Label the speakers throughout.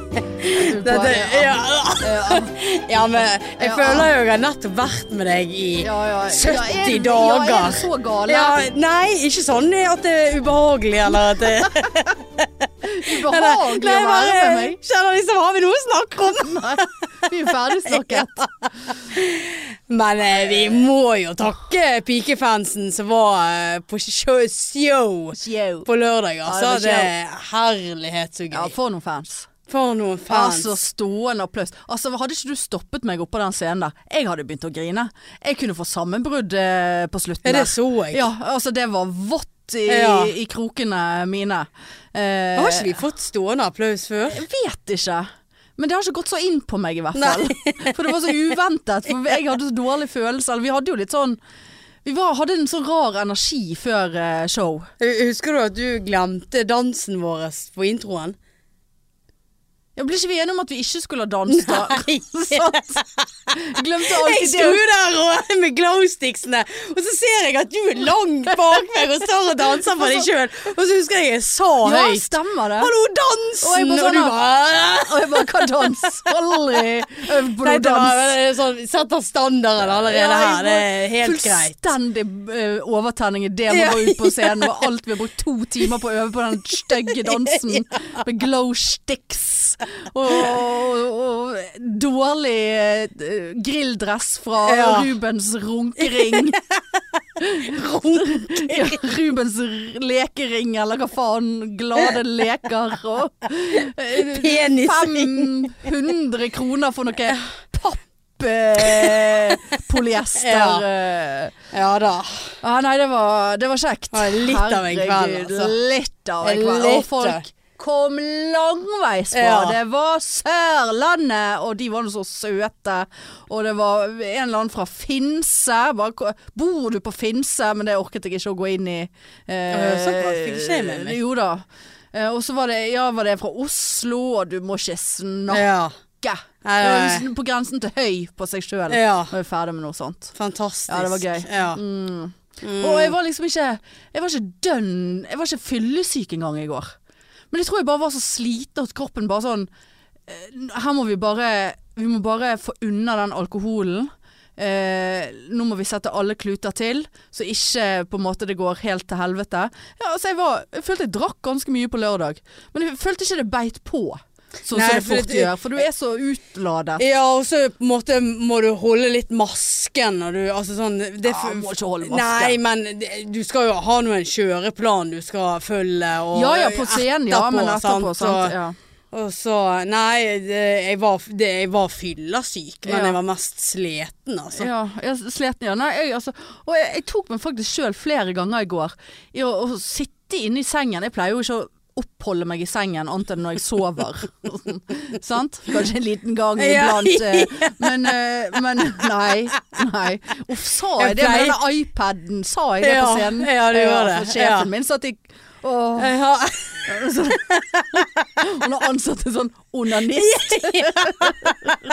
Speaker 1: Du
Speaker 2: Dette-
Speaker 1: bare,
Speaker 2: ja.
Speaker 1: eh, ja.
Speaker 2: Ja, men jeg
Speaker 1: Ja.
Speaker 2: føler jo jeg har nettopp vært med deg i
Speaker 1: Ja, ja.
Speaker 2: 70
Speaker 1: Ja, er du-
Speaker 2: dager.
Speaker 1: Ja, er du så gale?
Speaker 2: Ja, nei, ikke sånn at det er ubehagelig eller at det
Speaker 1: Ubehagelig å
Speaker 2: jeg
Speaker 1: være
Speaker 2: bare
Speaker 1: med meg.
Speaker 2: Kjenner liksom Har vi noe å snakke om?
Speaker 1: Nei, vi er ferdigsnakket.
Speaker 2: Men eh, vi må jo takke pikefansen som var eh, på show, show
Speaker 1: Yo.
Speaker 2: på lørdag, altså.
Speaker 1: var
Speaker 2: det er herlighet så gøy.
Speaker 1: Ja, for noen fans.
Speaker 2: For noen fans.
Speaker 1: Altså, stående applaus. Altså, hadde ikke du stoppet meg oppå den scenen der, jeg hadde begynt å grine. Jeg kunne få sammenbrudd eh, på slutten
Speaker 2: Ja, det
Speaker 1: der.
Speaker 2: så jeg.
Speaker 1: Ja, altså, det var vått i,
Speaker 2: Ja.
Speaker 1: i krokene mine. Eh,
Speaker 2: Har ikke vi fått stående applaus før?
Speaker 1: Jeg vet ikke. Men det har ikke gått så inn på meg i hvert fall. For det var så uventet. For jeg hadde så dårlig følelse. Eller vi hadde jo litt sånn Vi var, hadde en så rar energi før eh, show.
Speaker 2: Husker du at du glemte dansen vår på introen?
Speaker 1: Ja, Ble ikke vi enige om at vi ikke skulle ha dans da? Sant? Glemte
Speaker 2: Jeg
Speaker 1: alltid
Speaker 2: sto jo der og, med glowsticksene, og så ser jeg at du er langt bak meg og står og danser for deg sjøl. Og så husker jeg jeg sa
Speaker 1: Altså, Ja,
Speaker 2: høyt
Speaker 1: stemmer det.
Speaker 2: Hallo, dansen!
Speaker 1: Og jeg
Speaker 2: Og,
Speaker 1: bare sånn,
Speaker 2: du bare
Speaker 1: Og jeg bare kan danse. Aldri øvd på
Speaker 2: Nei,
Speaker 1: noe
Speaker 2: det var
Speaker 1: dans.
Speaker 2: eh, sånn, setter standarden
Speaker 1: Ja,
Speaker 2: allerede
Speaker 1: jeg
Speaker 2: her. Det er
Speaker 1: var
Speaker 2: helt greit.
Speaker 1: Fullstendig eh, overtenning i det man
Speaker 2: Ja.
Speaker 1: var ute på scenen. Var alt vi har brukt to timer på å øve på den stygge dansen med glow sticks og, og, og dårlig eh, grilldress fra
Speaker 2: Ja.
Speaker 1: Rubens runkering. Ja, Rubens r- lekering, eller hva faen. Glade leker og eh,
Speaker 2: Penisring.
Speaker 1: 500 kroner for noe papp eh, polyester.
Speaker 2: Ja.
Speaker 1: eh.
Speaker 2: Ja da.
Speaker 1: Ah, nei, det var, det var kjekt.
Speaker 2: Ja, litt av en kveld,
Speaker 1: Herregud,
Speaker 2: altså.
Speaker 1: Litt av en kveld.
Speaker 2: Litt.
Speaker 1: Og folk kom langveis fra.
Speaker 2: Ja.
Speaker 1: Det var Sørlandet, og de var nå så søte. Og det var en eller annen fra Finse. Bare, ko- bor du på Finse? Men det orket jeg ikke å gå inn i.
Speaker 2: Ja, så bra, fikk ikke jeg med meg.
Speaker 1: Jo da. Eh, og så var det, ja, var det fra Oslo, og du må ikke snakke.
Speaker 2: Ja. Nei, nei.
Speaker 1: Eh, På grensen til høy på seg sjøl.
Speaker 2: Ja.
Speaker 1: Når vi er ferdig med noe sånt.
Speaker 2: Fantastisk.
Speaker 1: Ja, det var gøy.
Speaker 2: Ja.
Speaker 1: Og jeg var liksom ikke Jeg var ikke dønn Jeg var ikke fyllesyk engang i går Men jeg tror jeg bare var så sliten at kroppen bare sånn eh, Her må vi bare Vi må bare få unna den alkoholen Eh, nå må vi sette alle kluter til Så ikke på en måte det går helt til helvete ja, altså jeg, var, jeg følte jeg drakk ganske mye på lørdag Men jeg følte ikke det beit på Sånn
Speaker 2: Nei,
Speaker 1: som det
Speaker 2: for
Speaker 1: fort
Speaker 2: det-
Speaker 1: gjør For du er så utladet
Speaker 2: Ja, og så på en måte må du holde litt masken når du Altså sånn det,
Speaker 1: Ja, må ikke holde masken.
Speaker 2: Nei, men det- du skal jo ha nå en kjøreplan du skal følge og
Speaker 1: Ja, ja, på scenen, ja, men etterpå sant?
Speaker 2: Og,
Speaker 1: Ja.
Speaker 2: og så Nei, det, jeg var, det, jeg var fyllesyk, men
Speaker 1: Ja.
Speaker 2: jeg var mest sliten, altså.
Speaker 1: Ja, jeg er sliten, ja. Nei, jeg, altså, og jeg, jeg tok meg faktisk sjøl flere ganger i går i å, å sitte inne i sengen. Jeg pleier jo ikke å oppholde meg i sengen annet enn når jeg sover. Sant? Kanskje en liten gang
Speaker 2: Ja.
Speaker 1: iblant. eh, Men, eh, men nei. nei. Uff, sa jeg
Speaker 2: Jeg
Speaker 1: det med
Speaker 2: pleier-
Speaker 1: denne iPaden? Sa jeg det på
Speaker 2: Ja,
Speaker 1: scenen?
Speaker 2: ja, du gjorde det.
Speaker 1: For
Speaker 2: Ja.
Speaker 1: sjefen min satt i Åh,
Speaker 2: Ja.
Speaker 1: hun har ansatt en sånn onanist.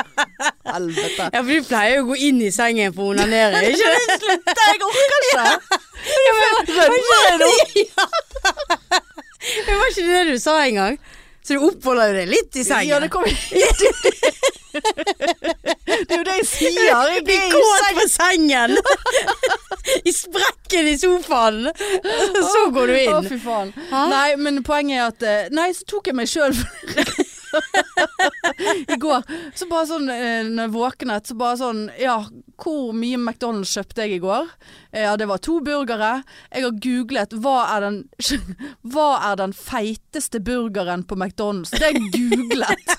Speaker 1: Helvete.
Speaker 2: ja, for du pleier jo å gå inn i sengen for å onanere, ikke det?
Speaker 1: Slutt, jeg orker ikke.
Speaker 2: Rødmer nå? Det var ikke det du sa engang. Så du oppholder jo deg litt i sengen.
Speaker 1: Ja, det kommer Det er jo det jeg sier. Jeg
Speaker 2: blir
Speaker 1: er i
Speaker 2: kåt på sengen! I sprekken i sofaen! Så går du
Speaker 1: Å,
Speaker 2: inn.
Speaker 1: fy faen.
Speaker 2: Hæ?
Speaker 1: Nei, men poenget er at eh, Nei, så tok jeg meg sjøl I går. Så bare sånn eh, når jeg våknet, så bare sånn Ja, hvor mye McDonald's kjøpte jeg i går? Eh, Ja, det var to burgere. Jeg har googlet hva er den, hva er den feiteste burgeren på McDonald's? Det har jeg googlet.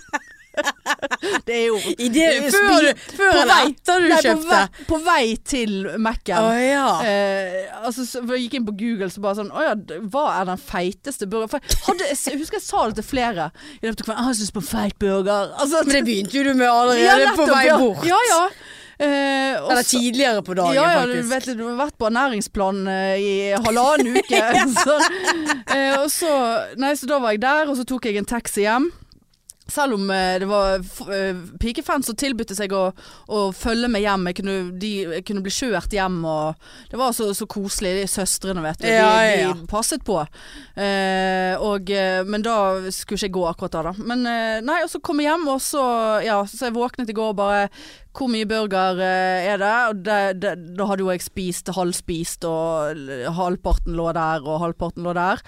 Speaker 1: Det er jo
Speaker 2: I det,
Speaker 1: Eh,
Speaker 2: før
Speaker 1: spi-
Speaker 2: du, før
Speaker 1: på
Speaker 2: eller
Speaker 1: vei-
Speaker 2: etter du
Speaker 1: Nei, På
Speaker 2: kjøpte.
Speaker 1: vei, på vei til Mac-en.
Speaker 2: Å ja.
Speaker 1: Eh, altså, så, for jeg gikk inn på Google så bare sånn Å ja, d- hva er den feiteste burgeren? For jeg, hadde, jeg husker jeg sa det til flere i løpet av kvelden. «Ah, Jeg syns på en feit burger. Altså,
Speaker 2: Men det begynte jo du med
Speaker 1: ja,
Speaker 2: allerede på
Speaker 1: nettopp,
Speaker 2: vei
Speaker 1: ja.
Speaker 2: bort.
Speaker 1: Ja, ja. Eh, og
Speaker 2: Eller
Speaker 1: så-
Speaker 2: tidligere på dagen,
Speaker 1: ja, ja, du
Speaker 2: faktisk.
Speaker 1: vet, det, du har vært på ernæringsplan eh, i halvannen uke. så, eh, og så, nei, så da var jeg der, og så tok jeg en taxi hjem. Selv om eh, det var f- eh, pikefans som tilbød seg å, å følge meg hjem. Jeg kunne, de jeg kunne bli kjørt hjem og Det var så, så koselig. De søstrene, vet du.
Speaker 2: Ja, ja,
Speaker 1: de,
Speaker 2: ja.
Speaker 1: de passet på. Eh, og, eh, men da skulle ikke jeg gå akkurat da, da. Men eh, nei, og så kom jeg hjem, og så Ja, så jeg våknet i går og bare Hvor mye burger eh, er det? Og det, det? Da hadde jo jeg spist halvspist, og l- halvparten lå der, og halvparten lå der.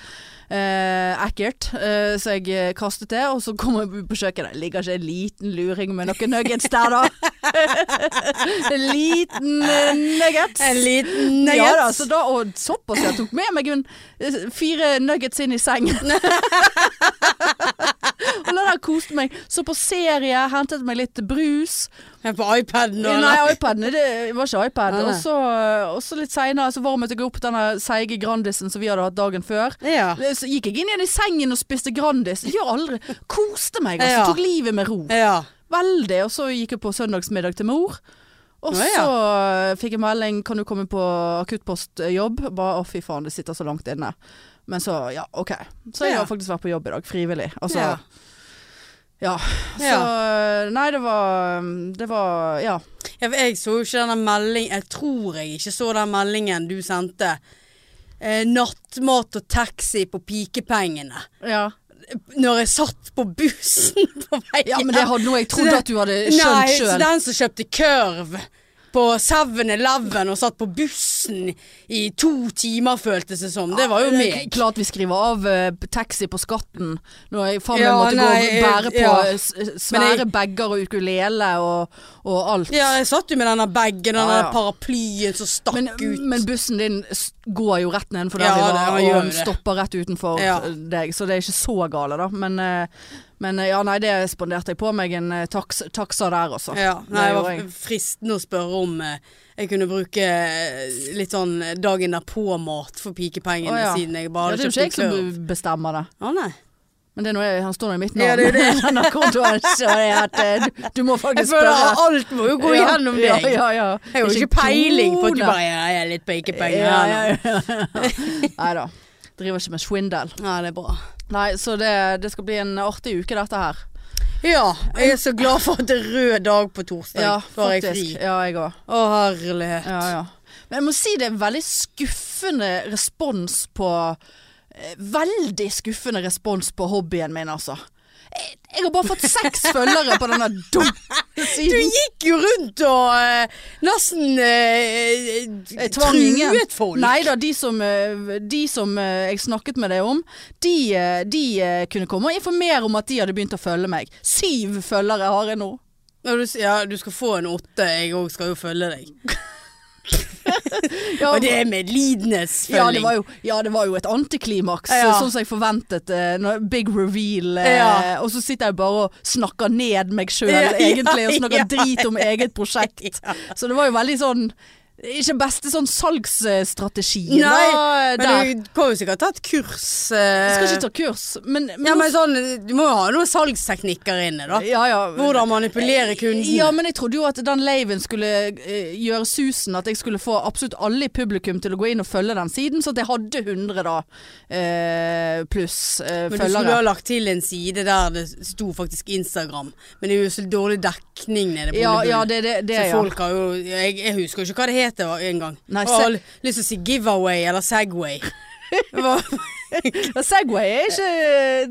Speaker 1: Eh, ekkelt. Eh, så jeg eh, kastet det, og så kom jeg ut på kjøkkenet. Ligger ikke en liten luring med noen nuggets der, da? en liten eh, nuggets.
Speaker 2: En liten nuggets.
Speaker 1: Ja altså- da, så da, og såpass jeg tok med meg en, eh, fire nuggets inn i sengen. og la der koste meg. Så på serie, hentet meg litt brus.
Speaker 2: Men På iPaden og
Speaker 1: Nei, iPaden er det var ikke iPad.
Speaker 2: Nei, nei.
Speaker 1: Og så, og så litt seinere så varmet jeg opp denne seige Grandisen som vi hadde hatt dagen før.
Speaker 2: Ja.
Speaker 1: Så gikk jeg inn igjen i sengen og spiste Grandis. Gjør aldri. Koste meg, altså.
Speaker 2: Ja.
Speaker 1: Tok livet med ro.
Speaker 2: ja.
Speaker 1: Veldig. Og så gikk jeg på søndagsmiddag til mor.
Speaker 2: Å,
Speaker 1: Og så
Speaker 2: ja.
Speaker 1: fikk jeg melding Kan du komme på akuttpostjobb. Bare å fy faen, det sitter så langt inne. Men så ja, OK. Så jeg
Speaker 2: Ja.
Speaker 1: har faktisk vært på jobb i dag, frivillig. Altså
Speaker 2: Ja.
Speaker 1: ja. Så nei, det var Det var Ja.
Speaker 2: Ja, for Jeg så jo ikke denne meldingen Jeg tror jeg ikke så den meldingen du sendte. Eh, nattmat og taxi på pikepengene.
Speaker 1: ja.
Speaker 2: Når jeg satt på bussen på vei
Speaker 1: Ja, men det hadde noe jeg
Speaker 2: Så
Speaker 1: trodde
Speaker 2: det-
Speaker 1: at du
Speaker 2: Nei,
Speaker 1: hadde skjønt
Speaker 2: så
Speaker 1: sjøl.
Speaker 2: den som kjøpte kurv på 7-Eleven og satt på bussen i to timer, føltes det som. Det var jo meg.
Speaker 1: Klart vi skriver av eh, taxi på skatten når jeg faen meg
Speaker 2: Ja,
Speaker 1: måtte
Speaker 2: nei,
Speaker 1: gå og bære på
Speaker 2: ja.
Speaker 1: eh, s- svære bager og ukulele og, og alt.
Speaker 2: Ja, jeg satt jo med denne bagen og
Speaker 1: Ja,
Speaker 2: denne
Speaker 1: ja.
Speaker 2: paraplyen som stakk
Speaker 1: Men,
Speaker 2: ut.
Speaker 1: men bussen din s- går jo rett nedenfor der
Speaker 2: Ja,
Speaker 1: vi
Speaker 2: det-
Speaker 1: var,
Speaker 2: han gjør
Speaker 1: og den
Speaker 2: det.
Speaker 1: stopper rett utenfor
Speaker 2: Ja.
Speaker 1: deg, så det er ikke så gale, da. Men, eh, men eh, ja, nei, det spanderte jeg på meg en eh, taks, taksa der, altså.
Speaker 2: ja, nei, det
Speaker 1: gjorde
Speaker 2: var
Speaker 1: jeg.
Speaker 2: fristende å spørre om eh, jeg kunne bruke eh, litt sånn dagen derpå-mat for pikepengene,
Speaker 1: Å, ja.
Speaker 2: siden jeg
Speaker 1: Ja,
Speaker 2: bare
Speaker 1: det er
Speaker 2: hadde
Speaker 1: jo ikke jeg
Speaker 2: kjøpt en kurv.
Speaker 1: som bestemmer det.
Speaker 2: Å nei.
Speaker 1: Men det er noe jeg, han står nå i mitt
Speaker 2: Ja,
Speaker 1: navn.
Speaker 2: det er det.
Speaker 1: Denne kontoen, så er at, eh, du, du må
Speaker 2: Jeg
Speaker 1: faktisk
Speaker 2: føler
Speaker 1: spørre.
Speaker 2: at alt må jo gå
Speaker 1: Ja,
Speaker 2: igjennom deg.
Speaker 1: Ja, ja, ja.
Speaker 2: Jeg har jo ikke peiling på at du
Speaker 1: kroner.
Speaker 2: bare ja, jeg er litt pikepenger.
Speaker 1: ja,
Speaker 2: her nå.
Speaker 1: ja, ja. Nei da. Driver ikke med swindel.
Speaker 2: Ja, det er bra.
Speaker 1: Nei, så det, det skal bli en artig uke, dette her.
Speaker 2: Ja, jeg er så glad for at det er rød dag på torsdag.
Speaker 1: Ja,
Speaker 2: da har jeg
Speaker 1: faktisk.
Speaker 2: fri.
Speaker 1: Ja, jeg òg.
Speaker 2: Å, herlighet.
Speaker 1: Ja, ja. Men jeg må si det er en veldig skuffende respons på eh, Veldig skuffende respons på hobbyen min, altså. Jeg, jeg har bare fått seks følgere på denne dumme
Speaker 2: Du
Speaker 1: siden.
Speaker 2: gikk jo rundt og eh, nesten eh,
Speaker 1: Jeg tvang ingen.
Speaker 2: truet folk.
Speaker 1: Nei da, de som, eh, de som eh, jeg snakket med deg om, de, eh, de eh, kunne komme og informere om at de hadde begynt å følge meg. Syv følgere har jeg nå.
Speaker 2: Ja, du, s- ja, du skal få en åtte. Jeg òg skal jo følge deg.
Speaker 1: Ja,
Speaker 2: Og det er
Speaker 1: ja, det
Speaker 2: medlidenhetsfølging.
Speaker 1: var jo, ja, det var jo et antiklimaks,
Speaker 2: Ja.
Speaker 1: sånn som jeg forventet. eh, når- big reveal. eh,
Speaker 2: Ja.
Speaker 1: Og så sitter jeg bare og snakker ned meg sjøl,
Speaker 2: Ja,
Speaker 1: egentlig, og snakker
Speaker 2: ja.
Speaker 1: drit om eget prosjekt. Så det var jo veldig sånn Ikke beste sånn salgsstrategi.
Speaker 2: Nei,
Speaker 1: da, der.
Speaker 2: men du kan jo sikkert ta et kurs. eh,
Speaker 1: Jeg skal ikke ta kurs, men, men,
Speaker 2: ja, men sånn, Du må jo ha noen salgsteknikker inne, da.
Speaker 1: ja, ja.
Speaker 2: Hvordan manipulere kunden.
Speaker 1: Ja, men jeg trodde jo at den laven skulle eh, gjøre susen at jeg skulle få absolutt alle i publikum til å gå inn og følge den siden, så at jeg hadde 100 da, eh, pluss eh,
Speaker 2: Men du skulle ha
Speaker 1: følgere.
Speaker 2: lagt til en side der det sto faktisk Instagram. Men det er jo så dårlig dekning nede på
Speaker 1: Ja,
Speaker 2: Ole Bull.
Speaker 1: ja, det, det, det
Speaker 2: så
Speaker 1: ja.
Speaker 2: folk har jo jeg, jeg husker ikke hva det het det var en gang.
Speaker 1: Nei,
Speaker 2: jeg har
Speaker 1: se-
Speaker 2: lyst til å si giveaway eller Segway. Det var-
Speaker 1: Ja, Segway er ikke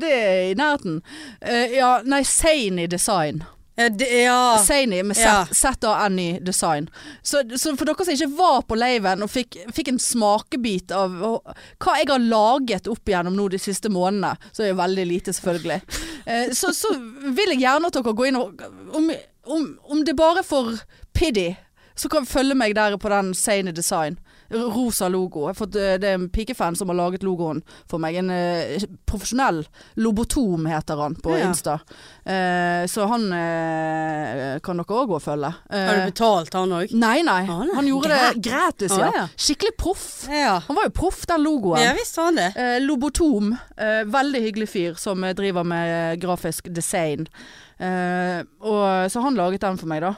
Speaker 1: det er i nærheten. Eh, ja, nei, Zany Design.
Speaker 2: ja, det, ja.
Speaker 1: Zany med
Speaker 2: Ja.
Speaker 1: Z- Z-A-N-Y Design. Så, så for dere som ikke var på laven og fikk, fikk en smakebit av og, hva jeg har laget opp igjennom nå de siste månedene, så er det veldig lite selvfølgelig, eh, så, så vil jeg gjerne at dere går inn og Om, om, om det bare er for piddy, så kan følge meg der på den Zany Design. R- Rosa logo. Jeg har fått, eh, det er en pikefan som har laget logoen for meg. En eh, profesjonell lobotom heter han på
Speaker 2: Ja.
Speaker 1: Insta. Eh, så han eh, kan dere òg gå og følge. Eh,
Speaker 2: Har du betalt han òg?
Speaker 1: Nei, nei.
Speaker 2: Ah, nei.
Speaker 1: Han gjorde det gratis, ja.
Speaker 2: Ah, ja.
Speaker 1: Skikkelig proff.
Speaker 2: Ja.
Speaker 1: Han var jo proff, den logoen.
Speaker 2: ja visst har han det.
Speaker 1: Eh, Lobotom. Eh, veldig hyggelig fyr som eh, driver med eh, grafisk design. Eh, og, så han laget den for meg, da.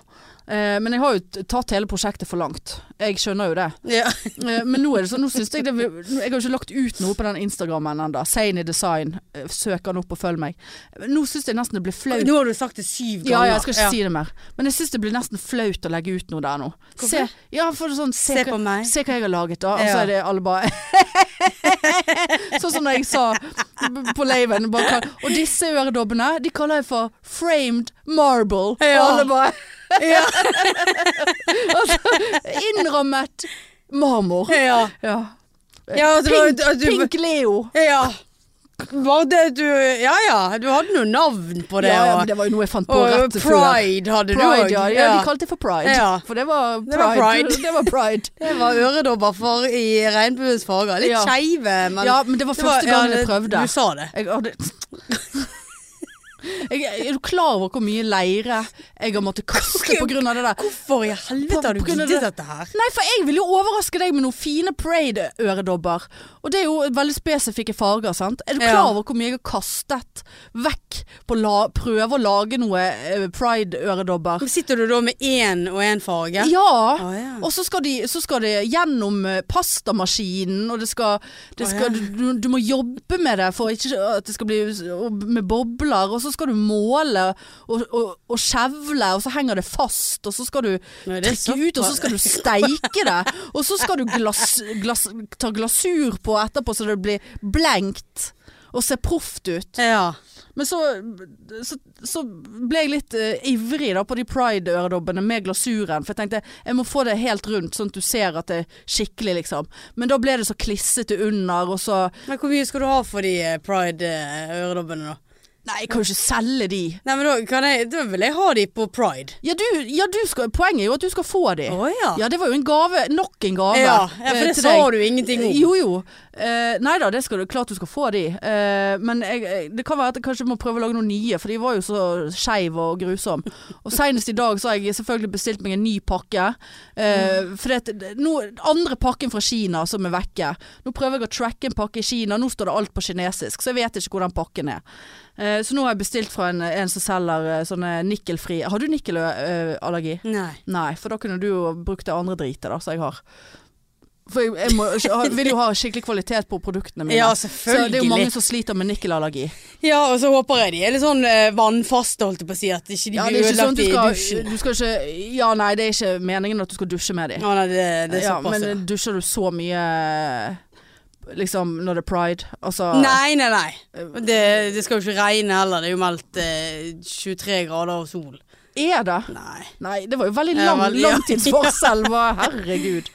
Speaker 1: Eh, men jeg har jo t- tatt hele prosjektet for langt. Jeg skjønner jo det.
Speaker 2: Ja.
Speaker 1: Eh, men nå er det sånn, nå syns jeg det vil- Jeg har jo ikke lagt ut noe på den Instagrammen ennå. Sane Design. Eh, Søk han opp og følg meg. Nå syns jeg nesten det blir flaut.
Speaker 2: Nå har du sagt det syv ganger.
Speaker 1: Ja, ja, jeg skal ikke si det mer. Men jeg syns det blir nesten flaut å legge ut noe der nå. Se,
Speaker 2: Hvorfor?
Speaker 1: ja, for det er sånn, se,
Speaker 2: Se
Speaker 1: hva-
Speaker 2: på meg.
Speaker 1: Se hva jeg har laget, da. Og så
Speaker 2: Ja.
Speaker 1: er det alle bare Sånn som da jeg sa b- på laven. bare kall- Og disse øredobbene, de kaller jeg for framed marble.
Speaker 2: Ja.
Speaker 1: Og alle bare
Speaker 2: Ja.
Speaker 1: innrammet marmor.
Speaker 2: ja.
Speaker 1: Ja.
Speaker 2: Ja, at det var-
Speaker 1: Pink,
Speaker 2: at du-
Speaker 1: Pink Leo.
Speaker 2: ja. Var det du Ja ja, du hadde noe navn på det.
Speaker 1: ja, ja, men
Speaker 2: og
Speaker 1: det var jo noe jeg fant på
Speaker 2: og
Speaker 1: rett før.
Speaker 2: pride hadde du
Speaker 1: Pride,
Speaker 2: òg.
Speaker 1: ja. ja. De kalte det for pride.
Speaker 2: Ja.
Speaker 1: For det var pride.
Speaker 2: Det var pride.
Speaker 1: Det var pride.
Speaker 2: Det var øredobber for i regnbuens farger. Litt
Speaker 1: Ja.
Speaker 2: skeive, men
Speaker 1: Ja, men det var
Speaker 2: Det var-
Speaker 1: første gang
Speaker 2: ja,
Speaker 1: jeg
Speaker 2: det-
Speaker 1: prøvde.
Speaker 2: Du sa det.
Speaker 1: Jeg, hadde- jeg, er du klar over hvor mye leire jeg har måttet kaste pga. det der?
Speaker 2: Hvorfor i helvete har du
Speaker 1: På grunn av
Speaker 2: giddet
Speaker 1: det-
Speaker 2: dette her?
Speaker 1: Nei, for jeg vil jo overraske deg med noen fine Parade-øredobber. Og det er jo veldig spesifikke farger, sant. Er du
Speaker 2: Ja.
Speaker 1: klar over hvor mye jeg har kastet vekk på å la, prøve å lage noe eh, pride-øredobber?
Speaker 2: Sitter du da med én og én farge?
Speaker 1: Ja.
Speaker 2: Å, ja.
Speaker 1: Og så skal, de, så skal det gjennom eh, pastamaskinen, og det skal, det
Speaker 2: Å,
Speaker 1: skal
Speaker 2: ja.
Speaker 1: du, du må jobbe med det for ikke at det skal bli s- og med bobler, og så skal du måle og, og, og skjevle, og så henger det fast, og så skal du
Speaker 2: Nei, det er
Speaker 1: trekke ut, og så
Speaker 2: såpass.
Speaker 1: skal du steike det, og så skal du glass, glass, ta glasur på etterpå så det blir blenkt. Og ser proft ut.
Speaker 2: Ja.
Speaker 1: Men så, så, så ble jeg litt eh, ivrig da på de pride-øredobbene med glasuren. For jeg tenkte jeg må få det helt rundt, sånn at du ser at det er skikkelig, liksom. Men da ble det så klissete under, og så
Speaker 2: Men hvor mye skal du ha for de eh, pride-øredobbene, da?
Speaker 1: Nei, jeg kan jo ikke selge de.
Speaker 2: Nei, men da, kan jeg, da vil jeg ha de på pride.
Speaker 1: Ja, du, ja du skal, poenget er jo at du skal få de.
Speaker 2: Å ja.
Speaker 1: Ja, det var jo en gave. Nok en gave.
Speaker 2: Ja, ja, for
Speaker 1: eh,
Speaker 2: det
Speaker 1: til
Speaker 2: sa
Speaker 1: deg.
Speaker 2: du ingenting om.
Speaker 1: Jo jo. Eh, nei da, det skal du, klart du skal få de. Eh, men jeg, jeg, det kan være at jeg kanskje må prøve å lage noen nye, for de var jo så skeive og grusom. Og senest i dag så har jeg selvfølgelig bestilt meg en ny pakke. Eh,
Speaker 2: Mm.
Speaker 1: for det, det- nå, andre pakken fra Kina som er vekke. Nå prøver jeg å tracke en pakke i Kina, nå står det alt på kinesisk, så jeg vet ikke hvor den pakken er. Eh, så nå har jeg bestilt fra en, en som selger eh, sånne nikkelfri Har du nikkelallergi?
Speaker 2: Nei.
Speaker 1: Nei, for da kunne du jo brukt det andre dritet da, som jeg har. For jeg, jeg, må, jeg vil jo ha skikkelig kvalitet på produktene mine.
Speaker 2: Ja,
Speaker 1: Så det er jo mange
Speaker 2: selvfølgelig.
Speaker 1: som sliter med nikkelallergi.
Speaker 2: Ja, og så håper jeg de er litt sånn eh, vannfaste, holdt jeg på å si. At ikke de
Speaker 1: Ja, det
Speaker 2: blir
Speaker 1: er ikke sånn
Speaker 2: ødelagt
Speaker 1: at du
Speaker 2: i
Speaker 1: skal,
Speaker 2: dusjen.
Speaker 1: du skal ikke Ja, nei, det er ikke meningen at du skal dusje med dem.
Speaker 2: Å nei, det, det er
Speaker 1: Ja,
Speaker 2: såpass.
Speaker 1: men
Speaker 2: ja.
Speaker 1: dusjer du så mye liksom når det er pride? Altså
Speaker 2: Nei, nei, nei. Det, det skal jo ikke regne heller. Det er jo meldt eh, 23 grader og sol.
Speaker 1: Er det?
Speaker 2: Nei.
Speaker 1: Nei, det var jo veldig
Speaker 2: Ja,
Speaker 1: lang,
Speaker 2: veldig, ja.
Speaker 1: langtidsforskjell, hva- herregud.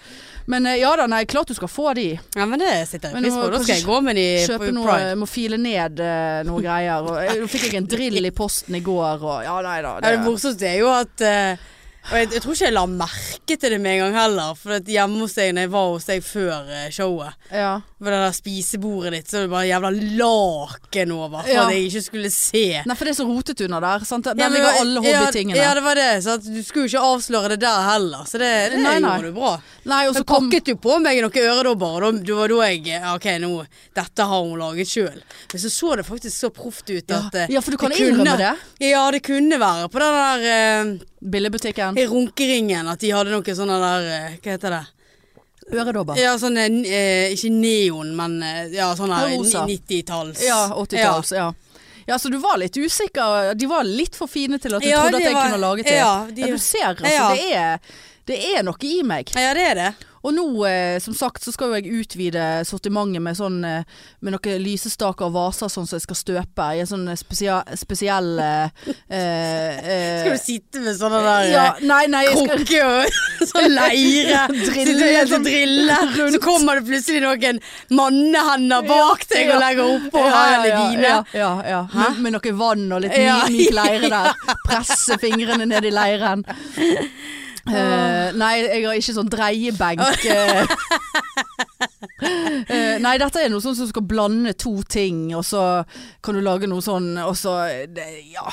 Speaker 1: Men eh, ja da, nei, klart du skal få de.
Speaker 2: Ja, men det setter jeg
Speaker 1: Men
Speaker 2: pris
Speaker 1: nå
Speaker 2: på. Da skal
Speaker 1: kanskje
Speaker 2: jeg gå med de på
Speaker 1: Kjøpe noe,
Speaker 2: pride.
Speaker 1: må file ned eh, noe greier. Og jeg, nå fikk jeg en drill i posten i går, og ja, nei da.
Speaker 2: Ja, det morsomste er jo at eh, Og jeg, jeg tror ikke jeg la merke til det med en gang heller. For at hjemme hos deg, når jeg var hos deg før eh, showet,
Speaker 1: ja.
Speaker 2: på det der spisebordet ditt, så var det bare jævla laken over for
Speaker 1: Ja.
Speaker 2: at jeg ikke skulle se.
Speaker 1: Nei, for det er så rotete under der. Sant? Der
Speaker 2: Ja, men-
Speaker 1: ligger alle hobbytingene.
Speaker 2: Ja, ja, det var det. Så at du skulle jo ikke avsløre det der heller. Så det, det
Speaker 1: Nei, nei.
Speaker 2: gjorde du bra.
Speaker 1: Nei, og
Speaker 2: Så
Speaker 1: så kom
Speaker 2: pakket du på meg noen øredobber, og da- det var da jeg ja, OK, nå Dette har hun laget sjøl. Men så så det faktisk så proft ut
Speaker 1: Ja.
Speaker 2: at eh,
Speaker 1: Ja, for du kan
Speaker 2: kunne-
Speaker 1: innrømme det.
Speaker 2: Ja, det kunne være på den der eh,
Speaker 1: Billebutikken.
Speaker 2: I runkeringen at de hadde noe sånne der eh, Hva heter det?
Speaker 1: Øredobber.
Speaker 2: Ja, sånne eh, Ikke neon, men eh, ja, sånne
Speaker 1: Ja, rosa.
Speaker 2: 90-talls.
Speaker 1: Ja, 80-talls. Ja. ja, så du var litt usikker. De var litt for fine til at du
Speaker 2: Ja,
Speaker 1: trodde
Speaker 2: de
Speaker 1: at jeg
Speaker 2: var-
Speaker 1: kunne lage til.
Speaker 2: ja, de-
Speaker 1: du ser, altså.
Speaker 2: Ja.
Speaker 1: Det, er, det er noe i meg.
Speaker 2: Ja. ja, det er det.
Speaker 1: Og nå, eh, som sagt, så skal jo jeg utvide sortimentet med, sånn, eh, med noen lysestaker og vaser sånn som jeg skal støpe i en sånn spesia, spesiell eh, eh, eh,
Speaker 2: Skal du sitte med sånne der eh,
Speaker 1: ja, Nei, nei, jeg skal
Speaker 2: Krukke og sånn leire.
Speaker 1: Drille.
Speaker 2: Sitte helt og drille. Så kommer det plutselig noen mannehender bak deg og legger oppå hendene dine.
Speaker 1: Ja, ja, ja. Med, med noe vann og litt
Speaker 2: Ja.
Speaker 1: myk, myk leire der. Presse fingrene ned i leiren.
Speaker 2: Ah.
Speaker 1: Eh, nei, jeg har ikke sånn dreiebenk. eh. Eh, nei, dette er noe sånn som skal blande to ting, og så kan du lage noe sånn, og så det, Ja.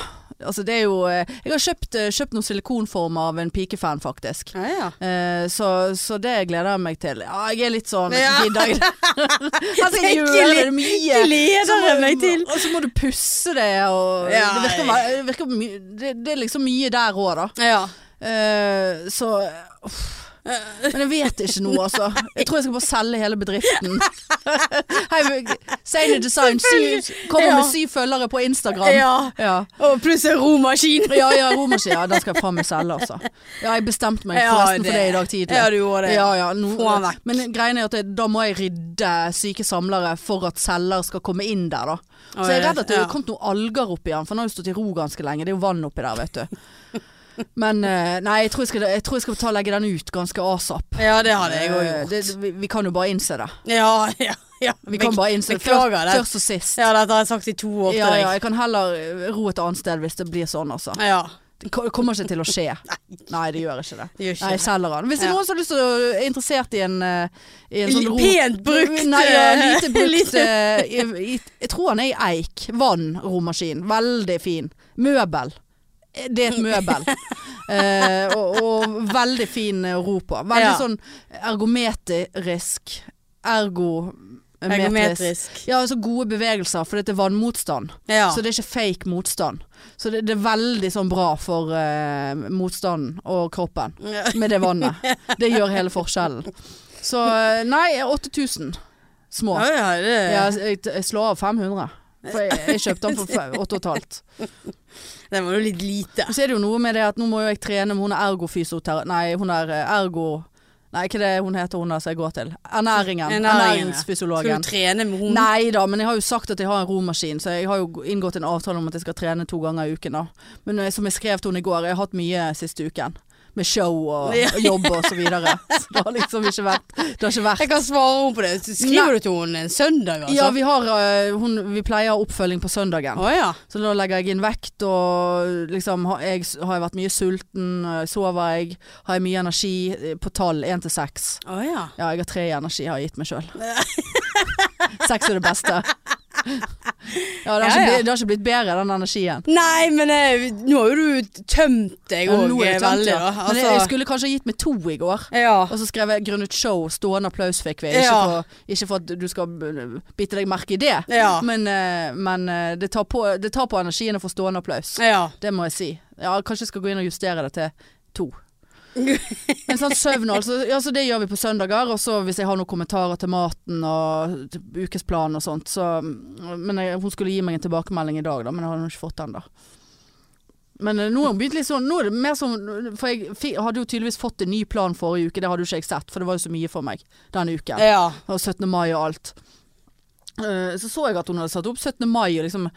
Speaker 1: Altså, det er jo eh, Jeg har kjøpt, eh, kjøpt noen silikonformer av en pikefan, faktisk.
Speaker 2: Ja, ja.
Speaker 1: Eh, så, så det gleder jeg meg til. Ja, jeg er litt sånn
Speaker 2: Ja.
Speaker 1: gidder jeg- Her skal jeg
Speaker 2: Det
Speaker 1: gjøre
Speaker 2: gled-
Speaker 1: det mye. Så
Speaker 2: Gleder
Speaker 1: må-
Speaker 2: jeg meg til.
Speaker 1: Og så må du pusse det, og
Speaker 2: Ja,
Speaker 1: det, virker,
Speaker 2: jeg-
Speaker 1: ve- det, virker, my- det, det er liksom mye der òg, da.
Speaker 2: Ja.
Speaker 1: Eh, Eh, så uff. Men jeg vet ikke noe, altså. Jeg tror jeg skal bare selge hele bedriften. Hei, Sane Design syv, kommer
Speaker 2: Ja.
Speaker 1: med syv følgere på Instagram.
Speaker 2: Ja.
Speaker 1: ja.
Speaker 2: Og pluss en romaskin.
Speaker 1: Ja, ja, romerski. Ja, den skal jeg faen meg selge, altså. Ja, jeg bestemte meg forresten for det i dag tidlig.
Speaker 2: Ja, du gjorde det.
Speaker 1: Ja, ja, nå-
Speaker 2: Få han vekk.
Speaker 1: men greien er at det, da må jeg rydde syke samlere for at selger skal komme inn der, da. Så jeg er redd at det
Speaker 2: Ja.
Speaker 1: har kommet noen alger oppi den, for den har jo stått i ro ganske lenge. Det er jo vann oppi der, vet du. Men eh, nei, jeg tror jeg skal, jeg tror jeg skal ta og legge den ut ganske asap.
Speaker 2: Ja, det hadde jeg òg
Speaker 1: Eh,
Speaker 2: gjort.
Speaker 1: det- vi, vi kan jo bare innse det.
Speaker 2: Ja, ja, ja.
Speaker 1: Vi kan bare innse det først,
Speaker 2: Beklager det.
Speaker 1: først og sist.
Speaker 2: Ja, dette har jeg sagt i to år
Speaker 1: Ja,
Speaker 2: til
Speaker 1: ja,
Speaker 2: deg.
Speaker 1: jeg kan heller eh, ro et annet sted hvis det blir sånn, altså.
Speaker 2: Ja.
Speaker 1: Det ko- kommer ikke til å skje. Nei, det gjør ikke det.
Speaker 2: Det gjør ikke
Speaker 1: Nei, jeg
Speaker 2: det.
Speaker 1: selger den. Hvis det er
Speaker 2: Ja.
Speaker 1: noen som har lyst til å, er interessert i en, eh, i en sånn ro...
Speaker 2: Pent brukt.
Speaker 1: Nei, ja, lite brukt.
Speaker 2: Lite-
Speaker 1: eh, i, i, jeg tror han er i eik. Vann, romaskin. Veldig fin. Møbel. Eh, Det er et møbel. Eh, og, og veldig fin eh, å ro på. Veldig
Speaker 2: Ja.
Speaker 1: sånn ergometrisk. Ergometrisk.
Speaker 2: Ergometrisk.
Speaker 1: Ja, altså gode bevegelser, for dette er vannmotstand.
Speaker 2: Ja.
Speaker 1: Så det er ikke fake motstand. Så det, det er veldig sånn bra for eh, motstanden og kroppen
Speaker 2: Ja.
Speaker 1: med det vannet. Det gjør hele forskjellen. Så eh, nei, 8000 små.
Speaker 2: Ja, ja, det
Speaker 1: Ja, altså- jeg, jeg slår av 500. For jeg, jeg kjøpte den for 8,5.
Speaker 2: Det var jo litt lite.
Speaker 1: Så er det jo noe med det at nå må jo jeg trene med hun er ergofysoterapeut Nei, hun er eh, ergo... Nei, ikke det hun heter hun der som jeg går til. Ernæringen.
Speaker 2: Skal
Speaker 1: Ernæringsfysiologen.
Speaker 2: du trene med henne?
Speaker 1: Nei da, men jeg har jo sagt at jeg har en romaskin, så jeg har jo inngått en avtale om at jeg skal trene to ganger i uken. da. Men eh, som jeg skrev til henne i går, jeg har hatt mye siste uken. Med show og,
Speaker 2: Ja.
Speaker 1: og jobb og så videre. Så det har liksom ikke vært Det har ikke vært
Speaker 2: Jeg kan svare henne på det. Så Skriver du til henne en søndag, altså?
Speaker 1: Ja, vi, har, eh, hun, vi pleier oppfølging på søndagen.
Speaker 2: Å ja.
Speaker 1: Så da legger jeg inn vekt, og liksom har jeg, har jeg vært mye sulten, eh, sover jeg, har jeg mye energi eh, på tall én til seks.
Speaker 2: Å ja.
Speaker 1: Ja, jeg har tre i energi har jeg gitt meg sjøl. Sex er det beste. Ja, det har,
Speaker 2: Ja, ja.
Speaker 1: ikke blitt, det har ikke blitt bedre, den energien.
Speaker 2: Nei, men eh, nå har jo du tømt deg
Speaker 1: Ja,
Speaker 2: òg
Speaker 1: nå er det tømt,
Speaker 2: veldig,
Speaker 1: ja.
Speaker 2: da.
Speaker 1: Men jeg,
Speaker 2: Altså,
Speaker 1: jeg skulle kanskje ha gitt meg to i går.
Speaker 2: ja.
Speaker 1: Og så skrev jeg 'grunnet show', stående applaus fikk vi. Ikke,
Speaker 2: Ja.
Speaker 1: for, ikke for at du skal b- bite deg merke i det,
Speaker 2: Ja.
Speaker 1: men, eh, men eh, det, tar på, det tar på energien å få stående applaus.
Speaker 2: ja.
Speaker 1: Det må jeg si. Ja, kanskje jeg skal gå inn og justere det til to. Men sånn søvn altså, ja, så det gjør vi på søndager, og så hvis jeg har noen kommentarer til maten og til ukesplan og sånt, så Men jeg, hun skulle gi meg en tilbakemelding i dag, da, men jeg har nå ikke fått den, da. Men eh, nå har jeg begynt litt sånn Nå er det mer sånn For jeg fi- hadde jo tydeligvis fått en ny plan forrige uke, det hadde jo ikke jeg sett, for det var jo så mye for meg denne uken
Speaker 2: ja.
Speaker 1: og 17. mai og alt. Eh, Så så jeg at hun hadde satt opp 17. mai og liksom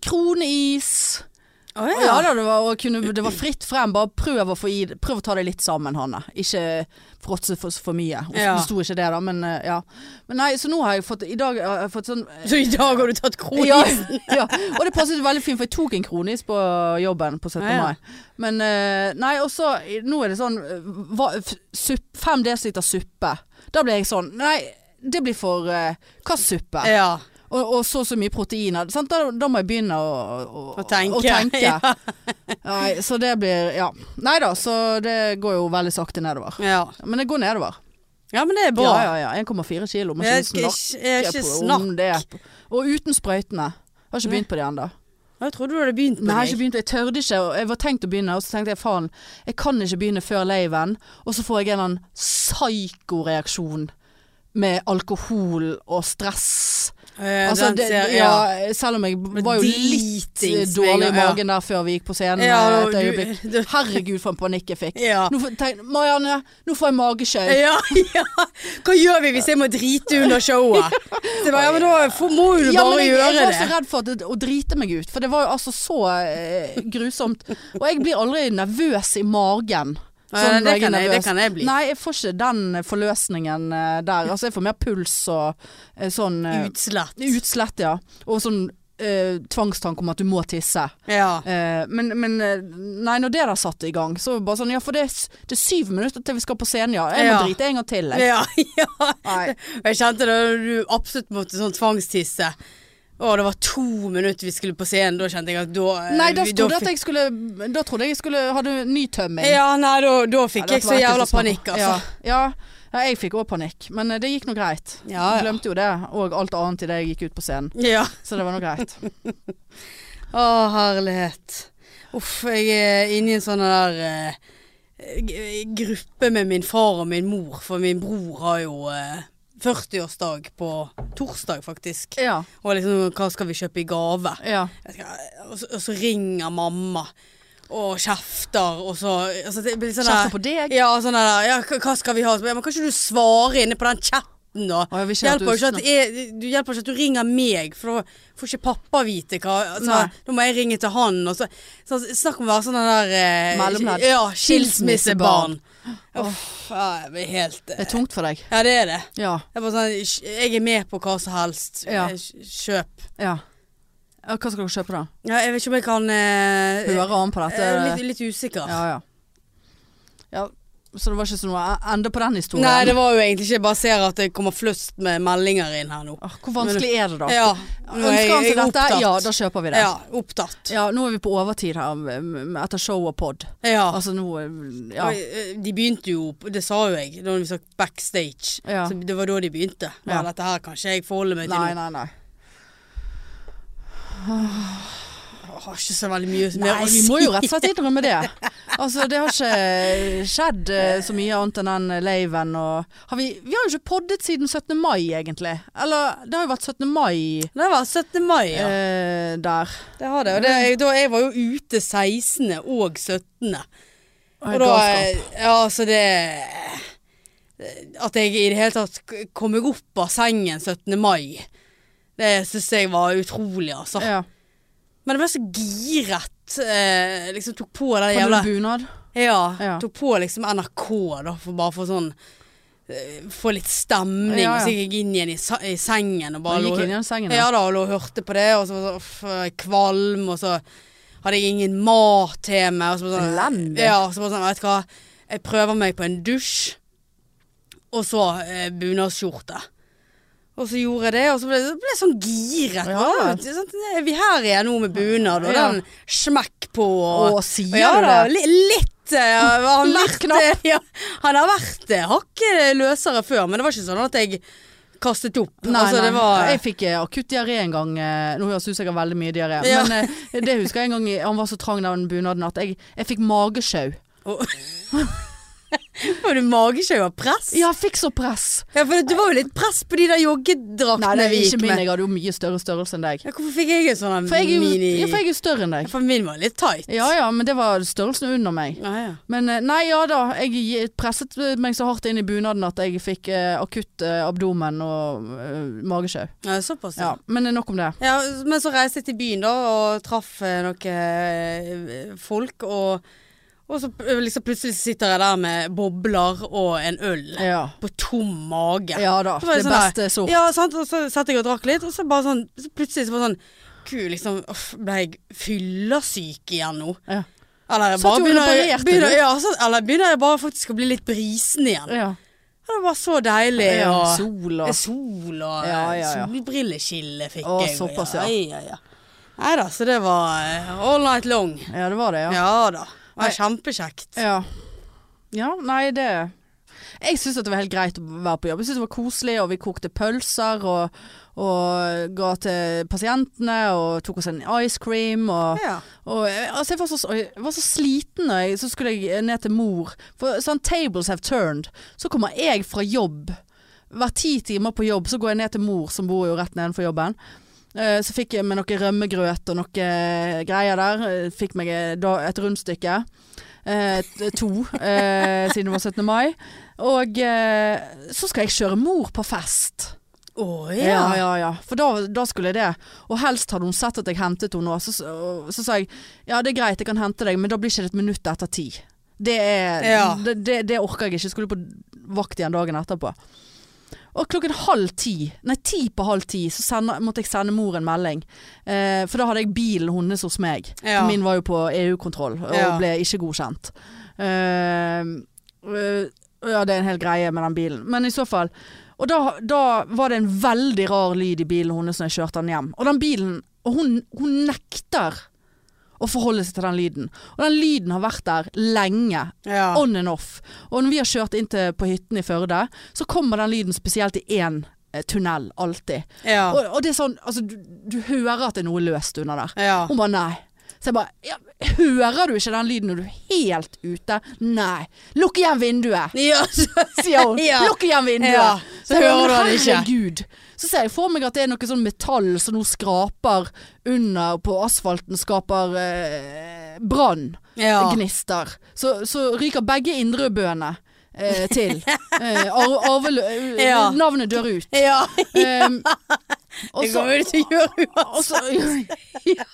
Speaker 1: Kroneis.
Speaker 2: Å
Speaker 1: Og Ja,
Speaker 2: ja.
Speaker 1: da, det, var, og kunne, det var fritt frem. Bare prøv å, få i, prøv å ta det litt sammen, Hanne. Ikke fråtse for, for mye. Hun
Speaker 2: Ja.
Speaker 1: sto ikke det, da, men eh, ja. Men nei, så nå har jeg fått I dag har jeg fått sånn
Speaker 2: Så i dag har du tatt kronis?
Speaker 1: ja, ja. Og det passet veldig fint, for jeg tok en kronis på jobben på 17.
Speaker 2: Ja, ja.
Speaker 1: mai. Men eh, nei, og så Nå er det sånn eh, hva, f- supp, Fem desiliter suppe. Da ble jeg sånn Nei, det blir for eh, Hva suppe?
Speaker 2: ja.
Speaker 1: Og, og så og så mye proteiner. Sant? Da, da må jeg begynne å, å,
Speaker 2: Å tenke.
Speaker 1: Å tenke.
Speaker 2: Ja.
Speaker 1: Nei, så det blir Ja. Nei da, så det går jo veldig sakte nedover.
Speaker 2: Ja.
Speaker 1: Men det går nedover.
Speaker 2: ja, men det er bra.
Speaker 1: Ja, ja, ja. 1,4 kilo. Men
Speaker 2: Jeg
Speaker 1: ikke
Speaker 2: skal
Speaker 1: snakk
Speaker 2: ikke, jeg er ikke
Speaker 1: på
Speaker 2: snakk.
Speaker 1: om det. Og uten sprøytene. Har ikke begynt på det ennå.
Speaker 2: Jeg trodde du hadde begynt
Speaker 1: Nei, jeg har
Speaker 2: med
Speaker 1: ikke
Speaker 2: det.
Speaker 1: begynt. Jeg tørde ikke. og Jeg var tenkt å begynne, og så tenkte jeg faen, jeg kan ikke begynne før laven. Og så får jeg en eller annen psykoreaksjon med alkohol og stress.
Speaker 2: Eh,
Speaker 1: Altså,
Speaker 2: den
Speaker 1: det,
Speaker 2: ser-
Speaker 1: ja, selv om jeg var jo litt
Speaker 2: Dritings-
Speaker 1: dårlig i
Speaker 2: ja.
Speaker 1: magen der før vi gikk på scenen
Speaker 2: Ja,
Speaker 1: eh, et
Speaker 2: du-
Speaker 1: øyeblikk.
Speaker 2: du-
Speaker 1: Herregud, for en panikk jeg fikk.
Speaker 2: Ja.
Speaker 1: Nå får- tenk, Marianne, nå får jeg mageskjøl.
Speaker 2: Ja, ja. Hva gjør vi hvis jeg må drite under showet? Det var, ja, men da får- må jo du
Speaker 1: Ja,
Speaker 2: bare
Speaker 1: men jeg, jeg
Speaker 2: gjøre
Speaker 1: var så
Speaker 2: det.
Speaker 1: redd for at det, å drite meg ut, for det var jo altså så eh, grusomt. Og jeg blir aldri nervøs i magen.
Speaker 2: Ja, det
Speaker 1: Sånn når
Speaker 2: kan
Speaker 1: er
Speaker 2: jeg- det
Speaker 1: nervøs.
Speaker 2: kan jeg bli.
Speaker 1: Nei, jeg får ikke den forløsningen eh, der. Altså, jeg får mer puls og eh, sånn eh,
Speaker 2: Utslett.
Speaker 1: Utslett, ja. Og sånn eh, tvangstanke om at du må tisse.
Speaker 2: Ja.
Speaker 1: Eh, men, men eh, nei, når det der satte i gang, så var det bare sånn Ja, for det er, s- det er syv minutter til vi skal på scenen, ja. Jeg må
Speaker 2: Ja.
Speaker 1: drite en gang til, jeg.
Speaker 2: Ja, ja.
Speaker 1: Nei.
Speaker 2: Og Jeg kjente da du absolutt måtte sånn tvangstisse. Å, det var to minutter vi skulle på scenen. Da kjente jeg at da eh,
Speaker 1: Nei, da
Speaker 2: vi-
Speaker 1: sto det
Speaker 2: fikk-
Speaker 1: at jeg skulle Da trodde jeg jeg skulle hadde nytømming.
Speaker 2: Ja, nei, da, da fikk
Speaker 1: Ja,
Speaker 2: jeg
Speaker 1: dette
Speaker 2: så
Speaker 1: var
Speaker 2: jævla
Speaker 1: ekkelt å
Speaker 2: panikk,
Speaker 1: snakke om.
Speaker 2: altså.
Speaker 1: Ja, ja. ja jeg fikk òg panikk, men eh, det gikk nå greit.
Speaker 2: Ja, ja.
Speaker 1: Glemte jo det, og alt annet idet jeg gikk ut på scenen.
Speaker 2: Ja.
Speaker 1: Så det var nå greit.
Speaker 2: Å, herlighet. Uff, jeg er inne i en sånn der eh, eh, g- gruppe med min far og min mor, for min bror har jo eh, 40-årsdag på torsdag, faktisk.
Speaker 1: Ja.
Speaker 2: Og liksom, hva skal vi kjøpe i gave?
Speaker 1: ja.
Speaker 2: Jeg skal, og, så, og så ringer mamma og kjefter, og så altså, det blir sånn der-
Speaker 1: Kjefter på deg?
Speaker 2: Ja, sånn der, ja, hva hva skal vi ha? Så, Ja, men kan ikke du svare inne på den chatten, da?
Speaker 1: Å, jeg vil ikke at
Speaker 2: Hjelper
Speaker 1: du
Speaker 2: jo ikke at jeg, du hjelper ikke at du ringer meg, for da får ikke pappa vite hva altså,
Speaker 1: Nei.
Speaker 2: Da må jeg ringe til han. Og så, så snakk om å være sånn den der eh,
Speaker 1: Mellomledd.
Speaker 2: Ja,
Speaker 1: Skilsmissebarn.
Speaker 2: skilsmissebarn. Uff, ja, jeg blir helt eh,
Speaker 1: Det er tungt for deg.
Speaker 2: Ja, det er det.
Speaker 1: Ja.
Speaker 2: Jeg er, bare sånn, jeg er med på hva som helst.
Speaker 1: Ja.
Speaker 2: Eh, Kjøp.
Speaker 1: ja. ja hva skal dere kjøpe da?
Speaker 2: Ja, jeg vet ikke om jeg kan eh,
Speaker 1: Hører han på dette?
Speaker 2: eh, litt, litt usikker.
Speaker 1: Ja, ja. ja. Så det var ikke så noe ende på den historien?
Speaker 2: Nei, det var jo egentlig ikke Jeg bare ser at det kommer flust med meldinger inn her nå.
Speaker 1: Åh, Hvor vanskelig er det da?
Speaker 2: Ja, nå er jeg-
Speaker 1: Ønsker
Speaker 2: jeg
Speaker 1: han seg
Speaker 2: er
Speaker 1: dette?
Speaker 2: opptatt.
Speaker 1: Ja, da kjøper vi det.
Speaker 2: Ja, opptatt.
Speaker 1: Ja, nå er vi på overtid her mm, etter show og pod.
Speaker 2: Ja.
Speaker 1: Altså nå Ja.
Speaker 2: Og, eh, De begynte jo, opp- det sa jo jeg, da vi sa backstage.
Speaker 1: Ja.
Speaker 2: Så det var da de begynte. Ja.
Speaker 1: Ja.
Speaker 2: Dette her kan ikke jeg forholde meg til
Speaker 1: Nei,
Speaker 2: nå.
Speaker 1: nei, nei.
Speaker 2: Jeg har ikke så veldig mye mer
Speaker 1: Nei,
Speaker 2: å
Speaker 1: vi
Speaker 2: si.
Speaker 1: må jo rett og slett innrømme det. Altså, det har ikke skjedd eh, så mye annet enn den laven og har vi, vi har jo ikke poddet siden 17. mai, egentlig. Eller det har jo vært 17. mai
Speaker 2: Det var 17. mai, ja.
Speaker 1: eh, der.
Speaker 2: Det har det. Og det, jeg, da, jeg var jo ute 16. og 17. Og da
Speaker 1: Galskap.
Speaker 2: Ja, altså det eh, At jeg i det hele tatt k- kom meg opp av sengen 17. mai, det syns jeg var utrolig, altså.
Speaker 1: Ja.
Speaker 2: Men jeg ble så giret. Eh, liksom tok på den
Speaker 1: Hadde
Speaker 2: jævla
Speaker 1: du bunad?
Speaker 2: Ja.
Speaker 1: Ja.
Speaker 2: Tok på liksom NRK, da, for bare for sånn eh, Få litt stemning.
Speaker 1: Ja, ja.
Speaker 2: Så gikk jeg inn igjen i, sa- i sengen og bare
Speaker 1: Du
Speaker 2: lå-
Speaker 1: gikk inn i den sengen?
Speaker 2: ja da, og lå og hørte på det, og så var det sånn, uff, jeg kvalm, og så hadde jeg ingen mat til meg. Og så var det sånn,
Speaker 1: Elendig.
Speaker 2: ja, så var det sånn, vet du hva, jeg prøver meg på en dusj, og så eh, bunadsskjorte. Og så gjorde jeg det, og så ble jeg ble jeg sånn giret.
Speaker 1: Ja.
Speaker 2: Hva, sånn, er vi her igjen nå med bunad, og
Speaker 1: Ja.
Speaker 2: den smekk på.
Speaker 1: Å,
Speaker 2: Og,
Speaker 1: sier
Speaker 2: og ja
Speaker 1: du
Speaker 2: da,
Speaker 1: det?
Speaker 2: li, litt. eh, han,
Speaker 1: Litt
Speaker 2: vært, eh, ja, han har vært eh, hakket løsere før, men det var ikke sånn at jeg kastet opp.
Speaker 1: Nei,
Speaker 2: altså,
Speaker 1: nei.
Speaker 2: Det var,
Speaker 1: Jeg fikk eh, akutt diaré en gang. eh, Nå høres det ut som jeg har veldig mye diaré,
Speaker 2: Ja.
Speaker 1: men eh, det husker jeg en gang i- han var så trang den bunaden at jeg, jeg fikk magesjau.
Speaker 2: Var du magesjau av press?
Speaker 1: Ja, jeg fikk så press!
Speaker 2: Ja, for det var jo litt press på de der
Speaker 1: Nei,
Speaker 2: joggedraktene
Speaker 1: det er
Speaker 2: vi
Speaker 1: ikke
Speaker 2: gikk
Speaker 1: min.
Speaker 2: med.
Speaker 1: Jeg hadde jo mye større størrelse enn deg.
Speaker 2: Ja, hvorfor fikk jeg en sånn en
Speaker 1: For jeg, er jo-
Speaker 2: mini
Speaker 1: ja, for jeg er jo større enn deg.
Speaker 2: For min var litt tight.
Speaker 1: Ja ja, men det var størrelsen under meg.
Speaker 2: Ja, ja.
Speaker 1: Men eh, nei ja da, jeg gi- presset meg så hardt inn i bunaden at jeg fikk eh, akutt eh, abdomen og eh, magesjau.
Speaker 2: Ja, såpass, ja.
Speaker 1: Ja, men eh, nok om det.
Speaker 2: ja. Men så reiste jeg til byen da og traff eh, noen eh, folk, og, og så eh, liksom plutselig sitter jeg der med bobler og en øl
Speaker 1: Ja,
Speaker 2: på tom mage.
Speaker 1: ja da.
Speaker 2: Så var det
Speaker 1: Det
Speaker 2: sånn der-
Speaker 1: beste sort.
Speaker 2: Ja, sant? og så satt jeg og drakk litt, og så bare sånn så Plutselig så var det sånn Gud, liksom uff, Ble jeg fyllesyk igjen nå?
Speaker 1: Ja.
Speaker 2: Eller jeg
Speaker 1: Satt
Speaker 2: bare
Speaker 1: du og
Speaker 2: begynner, jeg,
Speaker 1: reparerte,
Speaker 2: begynner,
Speaker 1: du?
Speaker 2: ja, så, eller begynner jeg bare faktisk å bli litt brisen igjen.
Speaker 1: Ja.
Speaker 2: Det var så deilig.
Speaker 1: Ja,
Speaker 2: og,
Speaker 1: Sol
Speaker 2: Eh,
Speaker 1: og
Speaker 2: sol og
Speaker 1: Ja, ja, ja.
Speaker 2: solbrilleskille fikk
Speaker 1: Å,
Speaker 2: jeg. og
Speaker 1: såpass, ja.
Speaker 2: ja, ja, ja. Nei da, så det var eh, all night long.
Speaker 1: Ja, det var det, ja.
Speaker 2: Ja, da. Det var kjempekjekt.
Speaker 1: Ja, ja nei, det Jeg syns det var helt greit å være på jobb. Jeg synes det var koselig, og vi kokte pølser og, og ga til pasientene og tok oss en ice cream og
Speaker 2: Ja.
Speaker 1: og, eh, altså jeg, var så, jeg var så sliten når jeg, så skulle jeg eh, ned til mor. For sånn tables have turned. Så kommer jeg fra jobb. Hver ti timer på jobb så går jeg ned til mor, som bor jo rett nedenfor jobben. Eh, Så fikk jeg med noe rømmegrøt og noe greier der. Eh, Fikk meg eh, da et rundstykke. Eh, t- to, eh, siden det var 17. mai. Og eh, så skal jeg kjøre mor på fest.
Speaker 2: Å ja.
Speaker 1: Ja, ja, ja. For da, da skulle jeg det. Og helst hadde hun sett at jeg hentet henne nå. Så, så, så sa jeg ja, det er greit, jeg kan hente deg, men da blir ikke det et minutt etter ti. Det, er,
Speaker 2: Ja.
Speaker 1: det, det, det orker jeg ikke. Jeg Skulle på vakt igjen dagen etterpå. Og klokken halv ti, nei ti på halv ti, så sender, måtte jeg sende mor en melding. Eh, for da hadde jeg bilen hennes hos meg.
Speaker 2: Ja.
Speaker 1: For Min var jo på EU-kontroll og
Speaker 2: Ja.
Speaker 1: ble ikke godkjent. Eh, eh, ja, det er en hel greie med den bilen. Men i så fall Og da, da var det en veldig rar lyd i bilen hennes når jeg kjørte den hjem. Og den bilen og hun, hun nekter å forholde seg til den lyden. Og den lyden har vært der lenge.
Speaker 2: ja.
Speaker 1: On and off. Og når vi har kjørt inn til, på hytten i Førde, så kommer den lyden spesielt i én eh, tunnel, alltid.
Speaker 2: ja.
Speaker 1: Og, og det er sånn, altså du, du hører at det er noe løst under der.
Speaker 2: ja.
Speaker 1: Hun bare nei. Så jeg bare ja, Hører du ikke den lyden når du er helt ute? Nei. Lukk igjen vinduet,
Speaker 2: Ja, så,
Speaker 1: sier hun.
Speaker 2: Ja.
Speaker 1: Lukk igjen vinduet.
Speaker 2: Ja, så
Speaker 1: jeg bare,
Speaker 2: hører du det ikke.
Speaker 1: Herregud. Så ser jeg for meg at det er noe sånn metall som nå skraper under på asfalten, skaper eh, brann
Speaker 2: ja.
Speaker 1: gnister. Så, så ryker begge indrebøene eh, til. Eh, arv, arvelø... eh,
Speaker 2: Ja.
Speaker 1: Navnet dør ut.
Speaker 2: ja.
Speaker 1: Um, og
Speaker 2: Det
Speaker 1: så-
Speaker 2: kommer du til å gjøre
Speaker 1: og
Speaker 2: uansett.
Speaker 1: så ja,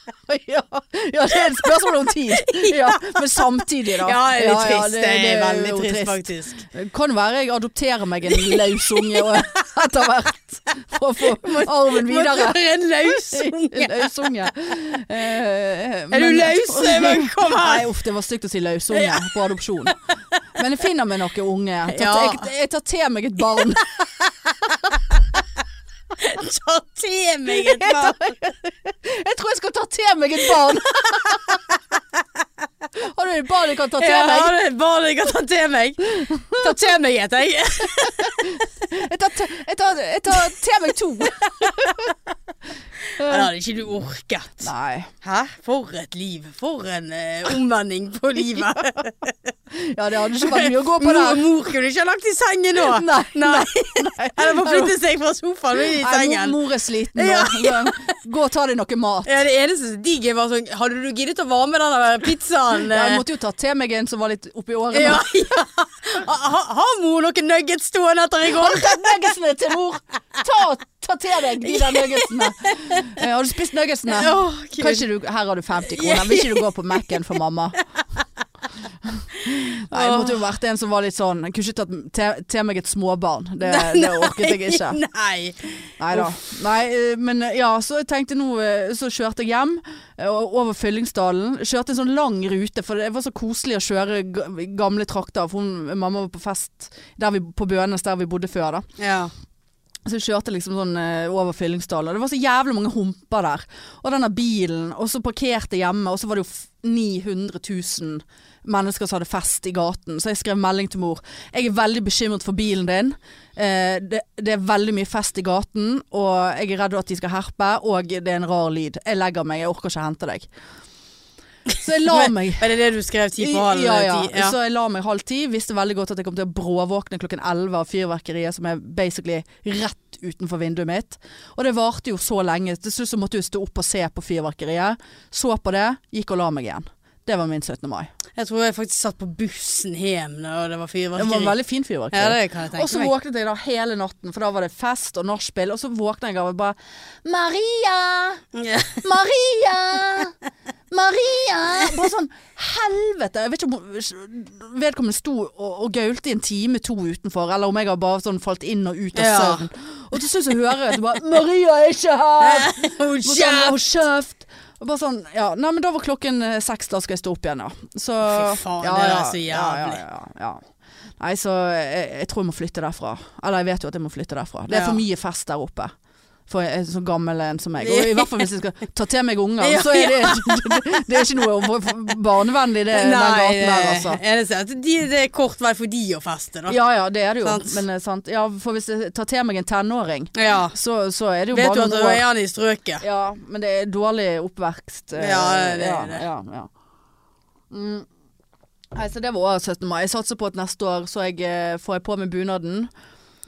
Speaker 1: ja, ja, det er et spørsmål om tid. Ja, men samtidig, da.
Speaker 2: Ja, det er litt trist.
Speaker 1: det-
Speaker 2: Det
Speaker 1: det
Speaker 2: er
Speaker 1: jo
Speaker 2: veldig trist, faktisk.
Speaker 1: Kan være jeg adopterer meg en lausunge og- etter hvert for å få arven videre.
Speaker 2: Måtte være en
Speaker 1: En
Speaker 2: lausunge.
Speaker 1: Lausunge. Eh,
Speaker 2: Er du
Speaker 1: men-
Speaker 2: løs? Men kom
Speaker 1: Nei,
Speaker 2: her.
Speaker 1: uff, det var stygt å si lausunge på adopsjon. Men jeg finner meg noen unge. Jeg tar,
Speaker 2: Ja.
Speaker 1: jeg, jeg tar til meg et barn.
Speaker 2: Ta til meg et barn.
Speaker 1: Jeg tror jeg skal ta til meg et barn! Har du et barn du kan ta til
Speaker 2: Ja,
Speaker 1: meg?
Speaker 2: det er et barn jeg kan ta til meg. Ta til meg, heter jeg.
Speaker 1: Jeg tar, til- jeg tar, jeg tar til meg to.
Speaker 2: Det hadde ikke du orket.
Speaker 1: Nei.
Speaker 2: Hæ? For et liv. For en eh, omvending på livet.
Speaker 1: Ja, det hadde ikke vært mye å gå på
Speaker 2: Mor,
Speaker 1: der.
Speaker 2: mor kunne ikke ha lagt i sengen nå.
Speaker 1: Nei.
Speaker 2: Nei. Eller må flytte seg fra sofaen og inn i
Speaker 1: Nei, mor-
Speaker 2: sengen.
Speaker 1: mor er sliten
Speaker 2: Ja,
Speaker 1: nå. Gå og ta deg noe mat.
Speaker 2: Ja, det eneste som digg er bare sånn Hadde du giddet å varme den der pizzaen?
Speaker 1: Ja, Jeg
Speaker 2: eh,
Speaker 1: måtte jo ta til meg en som var litt oppi årene.
Speaker 2: Ja, ja. Ha- ha- Har mor noen nuggets stående etter i går?
Speaker 1: Ta nuggetsene til mor! Ta, ta til deg de der nuggetsene. Eh, har du spist nuggetsene?
Speaker 2: Åh, Gud.
Speaker 1: Kanskje du, her har du 50 kroner, vil ikke du gå på Mac-en for mamma? Nei, det måtte jo vært en som var litt sånn Jeg kunne ikke tatt til- til meg et småbarn. Det, det orket jeg ikke.
Speaker 2: Nei.
Speaker 1: Nei da. Nei, eh, men eh, ja, så jeg tenkte nå eh, Så kjørte jeg hjem eh, og over Fyllingsdalen. Kjørte en sånn lang rute, for det var så koselig å kjøre ga- gamle trakter. For hun, mamma var på fest der vi, på Bønes, der vi bodde før, da.
Speaker 2: Ja.
Speaker 1: Så jeg kjørte liksom sånn eh, over Fyllingsdalen, og det var så jævlig mange humper der. Og denne bilen, og så parkerte jeg hjemme, og så var det jo f- 900 000 mennesker som hadde fest i gaten. Så jeg skrev melding til mor. Jeg er veldig bekymret for bilen din. Eh, det, det er veldig mye fest i gaten, og jeg er redd at de skal herpe, og det er en rar lyd. Jeg legger meg, jeg orker ikke hente deg. Så jeg la
Speaker 2: Men-
Speaker 1: meg.
Speaker 2: Er det det du skrev ti på halv
Speaker 1: Ja, ja.
Speaker 2: ti? Ja.
Speaker 1: Så jeg la meg halv ti. Visste veldig godt at jeg kom til å bråvåkne klokken elleve av fyrverkeriet som er basically rett utenfor vinduet mitt. Og det varte jo så lenge. Til slutt så måtte jeg stå opp og se på fyrverkeriet. Så på det, gikk og la meg igjen. Det var min 17. mai.
Speaker 2: Jeg tror jeg faktisk satt på bussen hjem da det var
Speaker 1: Det var
Speaker 2: fyrverkeri.
Speaker 1: veldig fin fyrverkeri.
Speaker 2: Ja, det kan jeg
Speaker 1: og så
Speaker 2: tenke meg.
Speaker 1: våknet jeg da hele natten, for da var det fest og nachspiel. Og så våkna jeg av og bare Maria!
Speaker 2: Ja.
Speaker 1: Maria! Maria! Bare sånn helvete. Jeg vet ikke om vedkommende sto og, og gaulte i en time to utenfor, eller om jeg har bare sånn falt inn og ut av
Speaker 2: Ja.
Speaker 1: søvn. Og til slutt så hører jeg at det bare 'Maria er ikke her!'
Speaker 2: Hold
Speaker 1: Og sånn,
Speaker 2: kjeft!
Speaker 1: «Å, kjeft! Og bare sånn, ja, nei, men da var klokken eh, seks, da skal jeg stå opp igjen, ja. Så,
Speaker 2: Fy faen, det er så jævlig.
Speaker 1: Ja, ja, ja, ja. Nei, så jeg, jeg tror jeg må flytte derfra. Eller jeg vet jo at jeg må flytte derfra. Det er
Speaker 2: Ja.
Speaker 1: for mye fest der oppe. For en sånn gammel en som meg. Og i hvert fall hvis jeg skal ta til meg unger, så er det, det, er ikke noe barnevennlig det, den
Speaker 2: Nei, eh,
Speaker 1: gaten der,
Speaker 2: det
Speaker 1: altså.
Speaker 2: er eneste er at de- det er kort vei for de å feste, da.
Speaker 1: Ja ja, det er det jo.
Speaker 2: Sant.
Speaker 1: Men eh, sant. Ja, for hvis jeg tar til meg en tenåring,
Speaker 2: Ja.
Speaker 1: så, så er det jo
Speaker 2: Vet du
Speaker 1: bare
Speaker 2: at da er han i strøket?
Speaker 1: Ja, men det er dårlig oppvekst. eh,
Speaker 2: Ja, det er
Speaker 1: ja,
Speaker 2: det.
Speaker 1: Ja, ja. Mm. Nei, så det var årets 17. mai. Jeg satser på at neste år så jeg, eh, får jeg på meg bunaden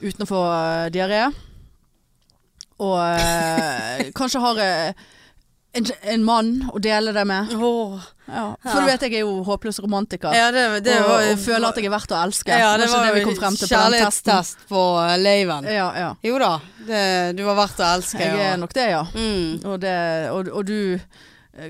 Speaker 1: uten å få eh, diaré. Og eh, kanskje har jeg en, en mann å dele det med.
Speaker 2: Åh.
Speaker 1: Ja. For du
Speaker 2: Ja.
Speaker 1: vet jeg er jo håpløs romantiker.
Speaker 2: Ja, det, det
Speaker 1: og,
Speaker 2: var
Speaker 1: og føler at jeg er verdt å elske.
Speaker 2: ja, det
Speaker 1: var ikke
Speaker 2: var
Speaker 1: det vi
Speaker 2: jo
Speaker 1: kom frem til på den testen.
Speaker 2: kjærlighetstest på eh, leiven.
Speaker 1: Ja, ja.
Speaker 2: Jo da, det, du var verdt å elske.
Speaker 1: Jeg er
Speaker 2: og-
Speaker 1: nok det, ja.
Speaker 2: mm.
Speaker 1: Og, det, og, og du eh,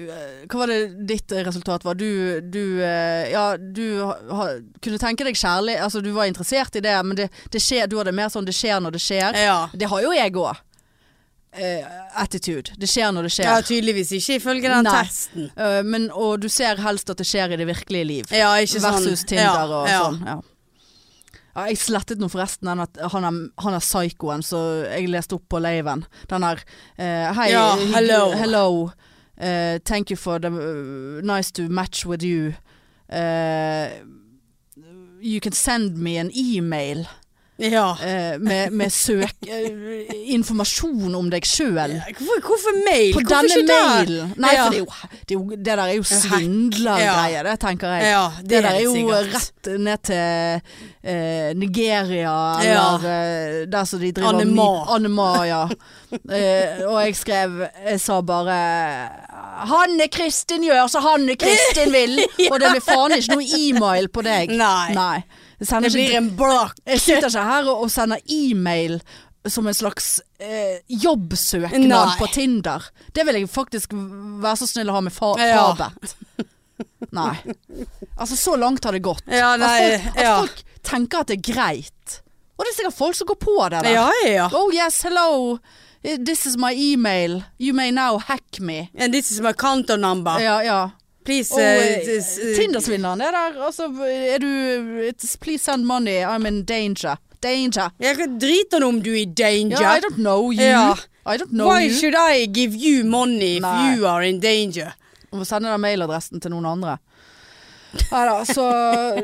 Speaker 1: Hva var det ditt resultat var? Du, du, eh, ja, du ha, ha- kunne tenke deg kjærlig Altså du var interessert i det, men det, det skjer, du hadde mer sånn 'det skjer når det skjer'.
Speaker 2: Ja.
Speaker 1: Det har jo jeg òg. attitude. Det skjer når det
Speaker 2: ja,
Speaker 1: skjer.
Speaker 2: tydeligvis ikke ifølge den
Speaker 1: Nei.
Speaker 2: testen.
Speaker 1: Eh, men, og du ser helst at det skjer i det virkelige liv.
Speaker 2: Ja, ikke sånn.
Speaker 1: Versus
Speaker 2: ja,
Speaker 1: Tinder og
Speaker 2: ja.
Speaker 1: sånn. Ja. Ja, jeg slettet nå forresten den at han er, han er psykoen som jeg leste opp på laven. Den der eh, Hei,
Speaker 2: Ja,
Speaker 1: hygg-
Speaker 2: hello.
Speaker 1: hello. Eh, thank you for the Nice to match with you. Eh, you can send me an email
Speaker 2: Ja.
Speaker 1: eh, med, med søk... eh, informasjon om deg sjøl.
Speaker 2: Hvorfor, hvorfor mail?
Speaker 1: På
Speaker 2: hvorfor
Speaker 1: denne
Speaker 2: der?
Speaker 1: mailen. Nei,
Speaker 2: Ja.
Speaker 1: for det, er jo, det, er jo, det der er jo svindlergreier, det tenker jeg.
Speaker 2: Ja,
Speaker 1: Det, der er jo
Speaker 2: sikkert.
Speaker 1: rett ned til eh, Nigeria,
Speaker 2: Ja.
Speaker 1: eller eh, der som de driver
Speaker 2: Anema.
Speaker 1: mi- Anema, ja. eh, og jeg skrev Jeg sa bare 'Hanne Kristin gjør som Hanne Kristin vil', og det blir faen ikke noe e-mail på deg.
Speaker 2: Nei.
Speaker 1: Jeg sender
Speaker 2: Det
Speaker 1: ikke-
Speaker 2: blir en blakk.
Speaker 1: jeg sitter ikke her og og sender e-mail som en slags eh, jobbsøknad
Speaker 2: Nei.
Speaker 1: på Tinder. Det vil jeg faktisk v- være så snill å ha med fa
Speaker 2: Ja.
Speaker 1: frabedt. Nei. Altså, så langt har det gått.
Speaker 2: Ja, nei,
Speaker 1: at folk, at
Speaker 2: ja.
Speaker 1: folk tenker at det er greit. Og det er sikkert folk som går på det. Der.
Speaker 2: Ja, ja.
Speaker 1: Oh yes, hello. Eh, This is my email. You may now hack me.
Speaker 2: And this is my counter number.
Speaker 1: Ja, ja.
Speaker 2: Please
Speaker 1: Og
Speaker 2: eh,
Speaker 1: eh,
Speaker 2: this, eh,
Speaker 1: Tinder-svindleren er der. Altså, er du it's- Please send money. I'm in danger. Danger.
Speaker 2: Jeg kan drite noe om du er i danger.
Speaker 1: Yeah, I don't know you.
Speaker 2: Ja.
Speaker 1: I don't know
Speaker 2: Why
Speaker 1: you.
Speaker 2: should I give you money if
Speaker 1: Nei.
Speaker 2: you are in danger?
Speaker 1: Du må sende den mailadressen til noen andre. Neida, så,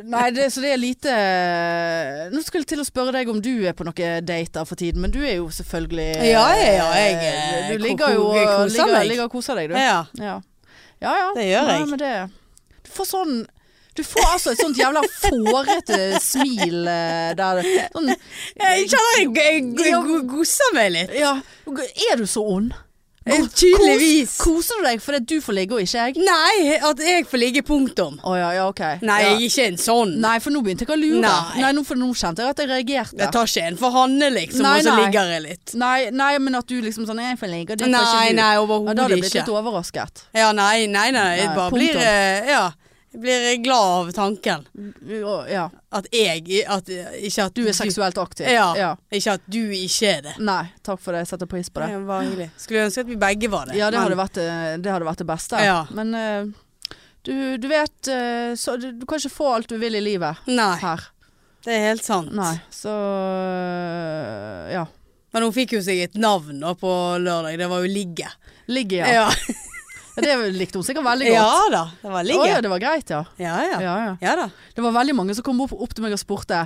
Speaker 1: nei, det, så det er lite eh, Nå skulle jeg til å spørre deg om du er på noen dater for tiden, men du er jo selvfølgelig
Speaker 2: Ja, ja, ja, jeg, eh,
Speaker 1: Du ligger jo
Speaker 2: ko- ko-
Speaker 1: og
Speaker 2: koser
Speaker 1: ligger,
Speaker 2: meg.
Speaker 1: ligger og koser deg, du.
Speaker 2: Ja.
Speaker 1: Ja ja. ja.
Speaker 2: Det gjør jeg.
Speaker 1: Nei, men det, du får sånn Du får altså et sånt jævla fårete smil eh, der sånn,
Speaker 2: Jeg kjenner jeg, jeg, jeg,
Speaker 1: Ja.
Speaker 2: jeg gosser meg litt.
Speaker 1: Ja, er du så ond?
Speaker 2: Eh, Tydeligvis.
Speaker 1: Kos, koser du deg fordi du får ligge og ikke jeg?
Speaker 2: Nei, at jeg får ligge punktum.
Speaker 1: Å ja, ja, ok.
Speaker 2: Nei,
Speaker 1: ja.
Speaker 2: jeg er ikke en sånn.
Speaker 1: Nei, for nå begynte jeg å lure.
Speaker 2: Nei.
Speaker 1: Nei, nå, for nå kjente jeg at jeg reagerte.
Speaker 2: Jeg tar ikke en for Hanne, liksom,
Speaker 1: Nei,
Speaker 2: og så
Speaker 1: nei.
Speaker 2: ligger jeg litt.
Speaker 1: Nei, nei, men at du liksom sånn Jeg får ligge, og det får
Speaker 2: Nei,
Speaker 1: ikke du.
Speaker 2: nei,
Speaker 1: Ja, da hadde
Speaker 2: overhodet
Speaker 1: jeg blitt
Speaker 2: ikke.
Speaker 1: litt overrasket.
Speaker 2: Ja, nei, nei, nei. Jeg
Speaker 1: Nei,
Speaker 2: bare
Speaker 1: punktum.
Speaker 2: blir eh, Ja. Jeg blir glad av tanken.
Speaker 1: Og- Ja,
Speaker 2: At jeg at, eh, Ikke at
Speaker 1: du er seksuelt aktiv.
Speaker 2: Ja. Ikke at du ikke er det.
Speaker 1: Nei, takk for det. Jeg setter pris på
Speaker 2: Det
Speaker 1: det.
Speaker 2: var hyggelig. Skulle ønske at vi begge var det.
Speaker 1: Ja, det
Speaker 2: men-
Speaker 1: hadde vært eh, det, hadde vært det beste.
Speaker 2: Ja.
Speaker 1: Men eh, du, du vet eh, så, du, du kan ikke få alt du vil i livet
Speaker 2: Nei,
Speaker 1: her.
Speaker 2: det er helt sant.
Speaker 1: Nei, så eh, Ja.
Speaker 2: Men hun fikk jo seg et navn da på lørdag. Det var jo Ligge.
Speaker 1: Ligge, ja.
Speaker 2: Ja,
Speaker 1: Ja, Det likte hun sikkert veldig
Speaker 2: ja
Speaker 1: godt.
Speaker 2: da. Det var
Speaker 1: Å ja,
Speaker 2: Ligge.
Speaker 1: det var greit, ja.
Speaker 2: Ja,
Speaker 1: ja,
Speaker 2: ja.
Speaker 1: ja.
Speaker 2: Ja da.
Speaker 1: Det var veldig mange som kom opp, opp til meg og spurte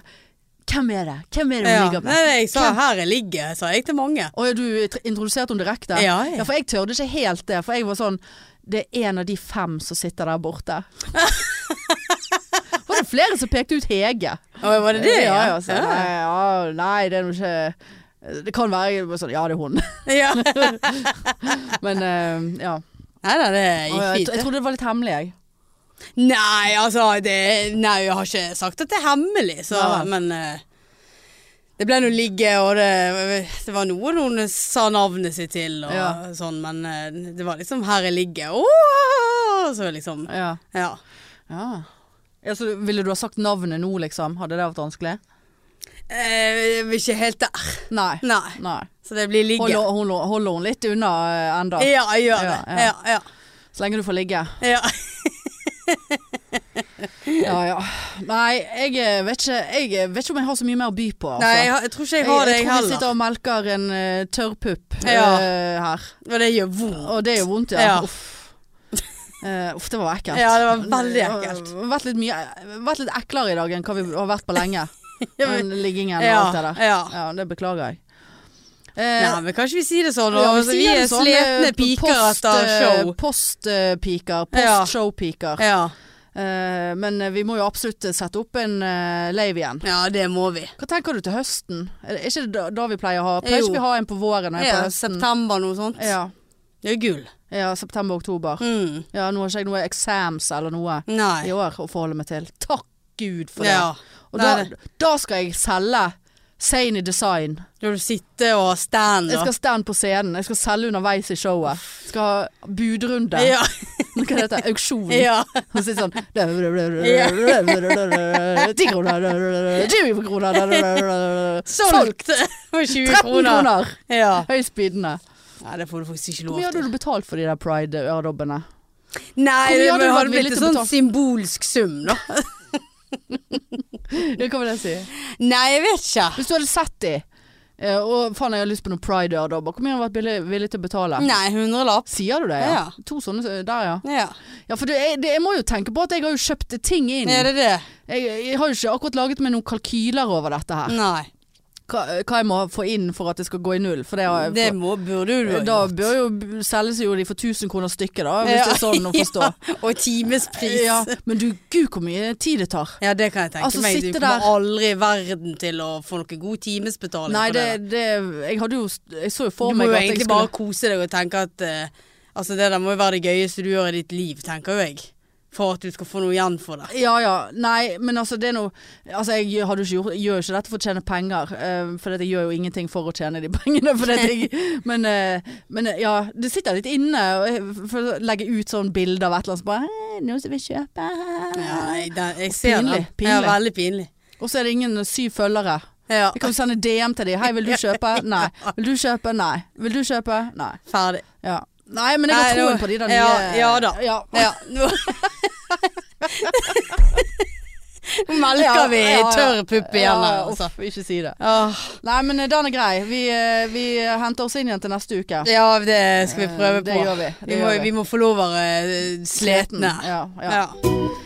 Speaker 1: Hvem er det? Hvem er det hun
Speaker 2: Ja.
Speaker 1: ligger
Speaker 2: Nei,
Speaker 1: med?
Speaker 2: nei, jeg sa 'her er Ligge', sa jeg til mange.
Speaker 1: Og du tr- introduserte henne direkte?
Speaker 2: Ja, ja.
Speaker 1: for jeg tørde ikke helt det. For jeg var sånn Det er en av de fem som sitter der borte. var det flere som pekte ut Hege?
Speaker 2: Å, var det det?
Speaker 1: ja, ja, så, nei, ja, nei, det er nå ikke Det kan være jeg var sånn Ja, det er hun.
Speaker 2: Ja.
Speaker 1: Men eh, ja.
Speaker 2: Nei da, det
Speaker 1: Og
Speaker 2: gikk
Speaker 1: Jeg,
Speaker 2: fint.
Speaker 1: jeg
Speaker 2: det.
Speaker 1: trodde det var litt hemmelig, jeg.
Speaker 2: Nei, altså det, Nei, jeg har ikke sagt at det er hemmelig, så
Speaker 1: Nei, nei.
Speaker 2: Men eh, det ble nå Ligge, og det, det var noen hun sa navnet sitt til, og
Speaker 1: Ja.
Speaker 2: sånn, men eh, det var liksom 'her er Ligge'. Åh! Så liksom
Speaker 1: Ja.
Speaker 2: Ja.
Speaker 1: ja. ja så ville du ha sagt navnet nå, liksom? Hadde det vært vanskelig?
Speaker 2: Eh, vi er ikke helt der.
Speaker 1: Nei.
Speaker 2: Nei.
Speaker 1: Nei.
Speaker 2: Så det blir ligge.
Speaker 1: Holder, holder, holder hun litt unna eh, enda
Speaker 2: Ja, jeg gjør det.
Speaker 1: Ja,
Speaker 2: Ja, ja.
Speaker 1: Så lenge du får ligge
Speaker 2: ja.
Speaker 1: Ja, ja Nei, jeg eh, vet ikke Jeg vet ikke om jeg har så mye mer å by på altså.
Speaker 2: Nei, jeg, har- jeg tror ikke jeg har det, jeg
Speaker 1: tror vi
Speaker 2: heller.
Speaker 1: sitter og melker en eh, tørrpupp
Speaker 2: Ja.
Speaker 1: eh, her
Speaker 2: Og det gjør vondt.
Speaker 1: Og det er jo vondt, ja,
Speaker 2: Ja.
Speaker 1: Uff. Eh, uff, det var ekkelt
Speaker 2: Ja, det var veldig ekkelt.
Speaker 1: Det har vært litt, mye, eh, vært litt eklere i dag enn hva vi har vært på lenge Den liggingen og alt det
Speaker 2: Ja,
Speaker 1: der
Speaker 2: ja.
Speaker 1: Ja, det beklager jeg Eh,
Speaker 2: Nei, men kan ikke vi si det sånn?
Speaker 1: Ja,
Speaker 2: og
Speaker 1: vi
Speaker 2: så vi
Speaker 1: sier
Speaker 2: er
Speaker 1: det sånn,
Speaker 2: sletne
Speaker 1: eh,
Speaker 2: piker
Speaker 1: post,
Speaker 2: etter
Speaker 1: eh,
Speaker 2: show. Ja.
Speaker 1: Postpiker, postshowpiker.
Speaker 2: Ja.
Speaker 1: Eh, men eh, vi må jo absolutt eh, sette opp en eh, lave igjen.
Speaker 2: ja, det må vi.
Speaker 1: Hva tenker du til høsten? Er det er ikke det da, da vi pleier å ha? Pleier
Speaker 2: Jo.
Speaker 1: ikke vi ha en på våren og en
Speaker 2: Ja,
Speaker 1: på høsten?
Speaker 2: september noe sånt.
Speaker 1: Ja.
Speaker 2: Det er gull.
Speaker 1: ja, september-oktober.
Speaker 2: Mm.
Speaker 1: Ja, nå har ikke jeg noe exams eller noe i
Speaker 2: Nei.
Speaker 1: år å forholde meg til. Takk Gud for det.
Speaker 2: Ja.
Speaker 1: Og
Speaker 2: Nei,
Speaker 1: da, da skal jeg selge Sane Design.
Speaker 2: Da du sitter og har stand
Speaker 1: Jeg
Speaker 2: og
Speaker 1: skal stand på scenen. Jeg skal selge underveis i showet. Skal ha budrunde.
Speaker 2: Ja.
Speaker 1: Hva heter det? Auksjon.
Speaker 2: ja.
Speaker 1: Og så er det sånn Ti kroner, 20 kroner Solgt!
Speaker 2: Solgt for 20
Speaker 1: 13
Speaker 2: kroner.
Speaker 1: kroner!
Speaker 2: Ja.
Speaker 1: Høyst bydende.
Speaker 2: Nei, det får du faktisk ikke
Speaker 1: Hvor
Speaker 2: lov
Speaker 1: mye
Speaker 2: til.
Speaker 1: hadde du betalt for de der pride-øredobbene?
Speaker 2: Nei,
Speaker 1: Hvor mye
Speaker 2: det
Speaker 1: hadde du vært
Speaker 2: hadde
Speaker 1: villig
Speaker 2: blitt en
Speaker 1: til å
Speaker 2: sånn
Speaker 1: betale?
Speaker 2: symbolsk sum, da.
Speaker 1: Ja, Hva vil det si?
Speaker 2: Nei, jeg vet ikke.
Speaker 1: Hvis du hadde sett de, eh, og faen jeg har lyst på noen pride-øredobber, hvor mye hadde du vært villig, villig til å betale?
Speaker 2: Nei, hundrelapp.
Speaker 1: Sier du det? Ja.
Speaker 2: Ja.
Speaker 1: To sånne eh, der, ja.
Speaker 2: Ja.
Speaker 1: Ja, for det, jeg, det, jeg må jo tenke på at jeg har jo kjøpt ting inn.
Speaker 2: Er det det?
Speaker 1: Jeg, jeg har jo ikke akkurat laget meg noen kalkyler over dette her.
Speaker 2: Nei.
Speaker 1: hva, hva jeg må få inn for at det skal gå i null. For det har jeg
Speaker 2: Det må, burde du
Speaker 1: Da bør jo selges jo de for 1000 kroner stykket, da, hvis det er sånn å forstå.
Speaker 2: Ja, og timespris. Ja.
Speaker 1: Ja, men du, gud hvor mye tid det tar.
Speaker 2: det kan jeg tenke
Speaker 1: Altså,
Speaker 2: meg. Du
Speaker 1: sitte
Speaker 2: kommer
Speaker 1: der-
Speaker 2: aldri i verden til å få noe god timesbetaling
Speaker 1: Nei,
Speaker 2: for
Speaker 1: det,
Speaker 2: det.
Speaker 1: det Jeg hadde jo Jeg så jo
Speaker 2: Du
Speaker 1: for
Speaker 2: må jo
Speaker 1: meg at jeg
Speaker 2: egentlig
Speaker 1: skulle
Speaker 2: bare kose deg og tenke at eh, Altså, det der må jo være det gøyeste du gjør i ditt liv, tenker jo jeg. For at du skal få noe igjen for det.
Speaker 1: Ja ja. Nei, men altså det er noe Altså jeg hadde jo ikke gjort, gjør jo ikke dette for å tjene penger. eh, for jeg gjør jo ingenting for å tjene de pengene. For jeg, men, eh, men eh, ja, det sitter litt inne og jeg- for å legge ut sånn bilde av et eller annet som bare «Eh, Noen som vil kjøpe?
Speaker 2: Nei, det, jeg ser det.
Speaker 1: Pinlig,
Speaker 2: Ja,
Speaker 1: pinlig.
Speaker 2: veldig pinlig.
Speaker 1: Og så er det ingen syv følgere.
Speaker 2: Ja,
Speaker 1: Jeg kan jo sende DM til de. Hei, vil du kjøpe? Nei. Vil du kjøpe? Nei. Vil du kjøpe? Nei.
Speaker 2: ferdig.
Speaker 1: Ja. Nei, men jeg har
Speaker 2: Nei,
Speaker 1: troen
Speaker 2: det var-
Speaker 1: på de der nye
Speaker 2: ja, ja da.
Speaker 1: Ja.
Speaker 2: Ja, nå Nå melker vi
Speaker 1: Ja, ja, ja.
Speaker 2: tørr pupp igjen her,
Speaker 1: Ja,
Speaker 2: altså.
Speaker 1: uff, ikke si det.
Speaker 2: Åh,
Speaker 1: Nei, men eh, den er grei. Vi, eh, vi eh, henter oss inn igjen til neste uke.
Speaker 2: Ja, det skal vi prøve
Speaker 1: Eh,
Speaker 2: på.
Speaker 1: Det gjør vi. Det
Speaker 2: Vi må,
Speaker 1: gjør
Speaker 2: vi må få lov å være eh, sletne.
Speaker 1: Ja, ja.
Speaker 2: Ja.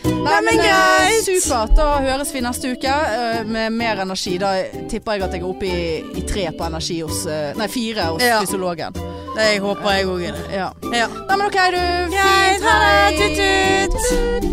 Speaker 1: Nei, men
Speaker 2: men
Speaker 1: eh,
Speaker 2: greit.
Speaker 1: supert. Da høres vi neste uke eh, med mer energi. Da tipper jeg at jeg er oppe i, i tre på energi hos eh, Nei, fire hos
Speaker 2: Ja.
Speaker 1: fysiologen.
Speaker 2: Det håper jeg òg er det.
Speaker 1: Ja.
Speaker 2: Ja.
Speaker 1: Nei, men OK, du.
Speaker 2: Greit,
Speaker 1: Fint.
Speaker 2: ha det. Tut-tut.
Speaker 1: Tut.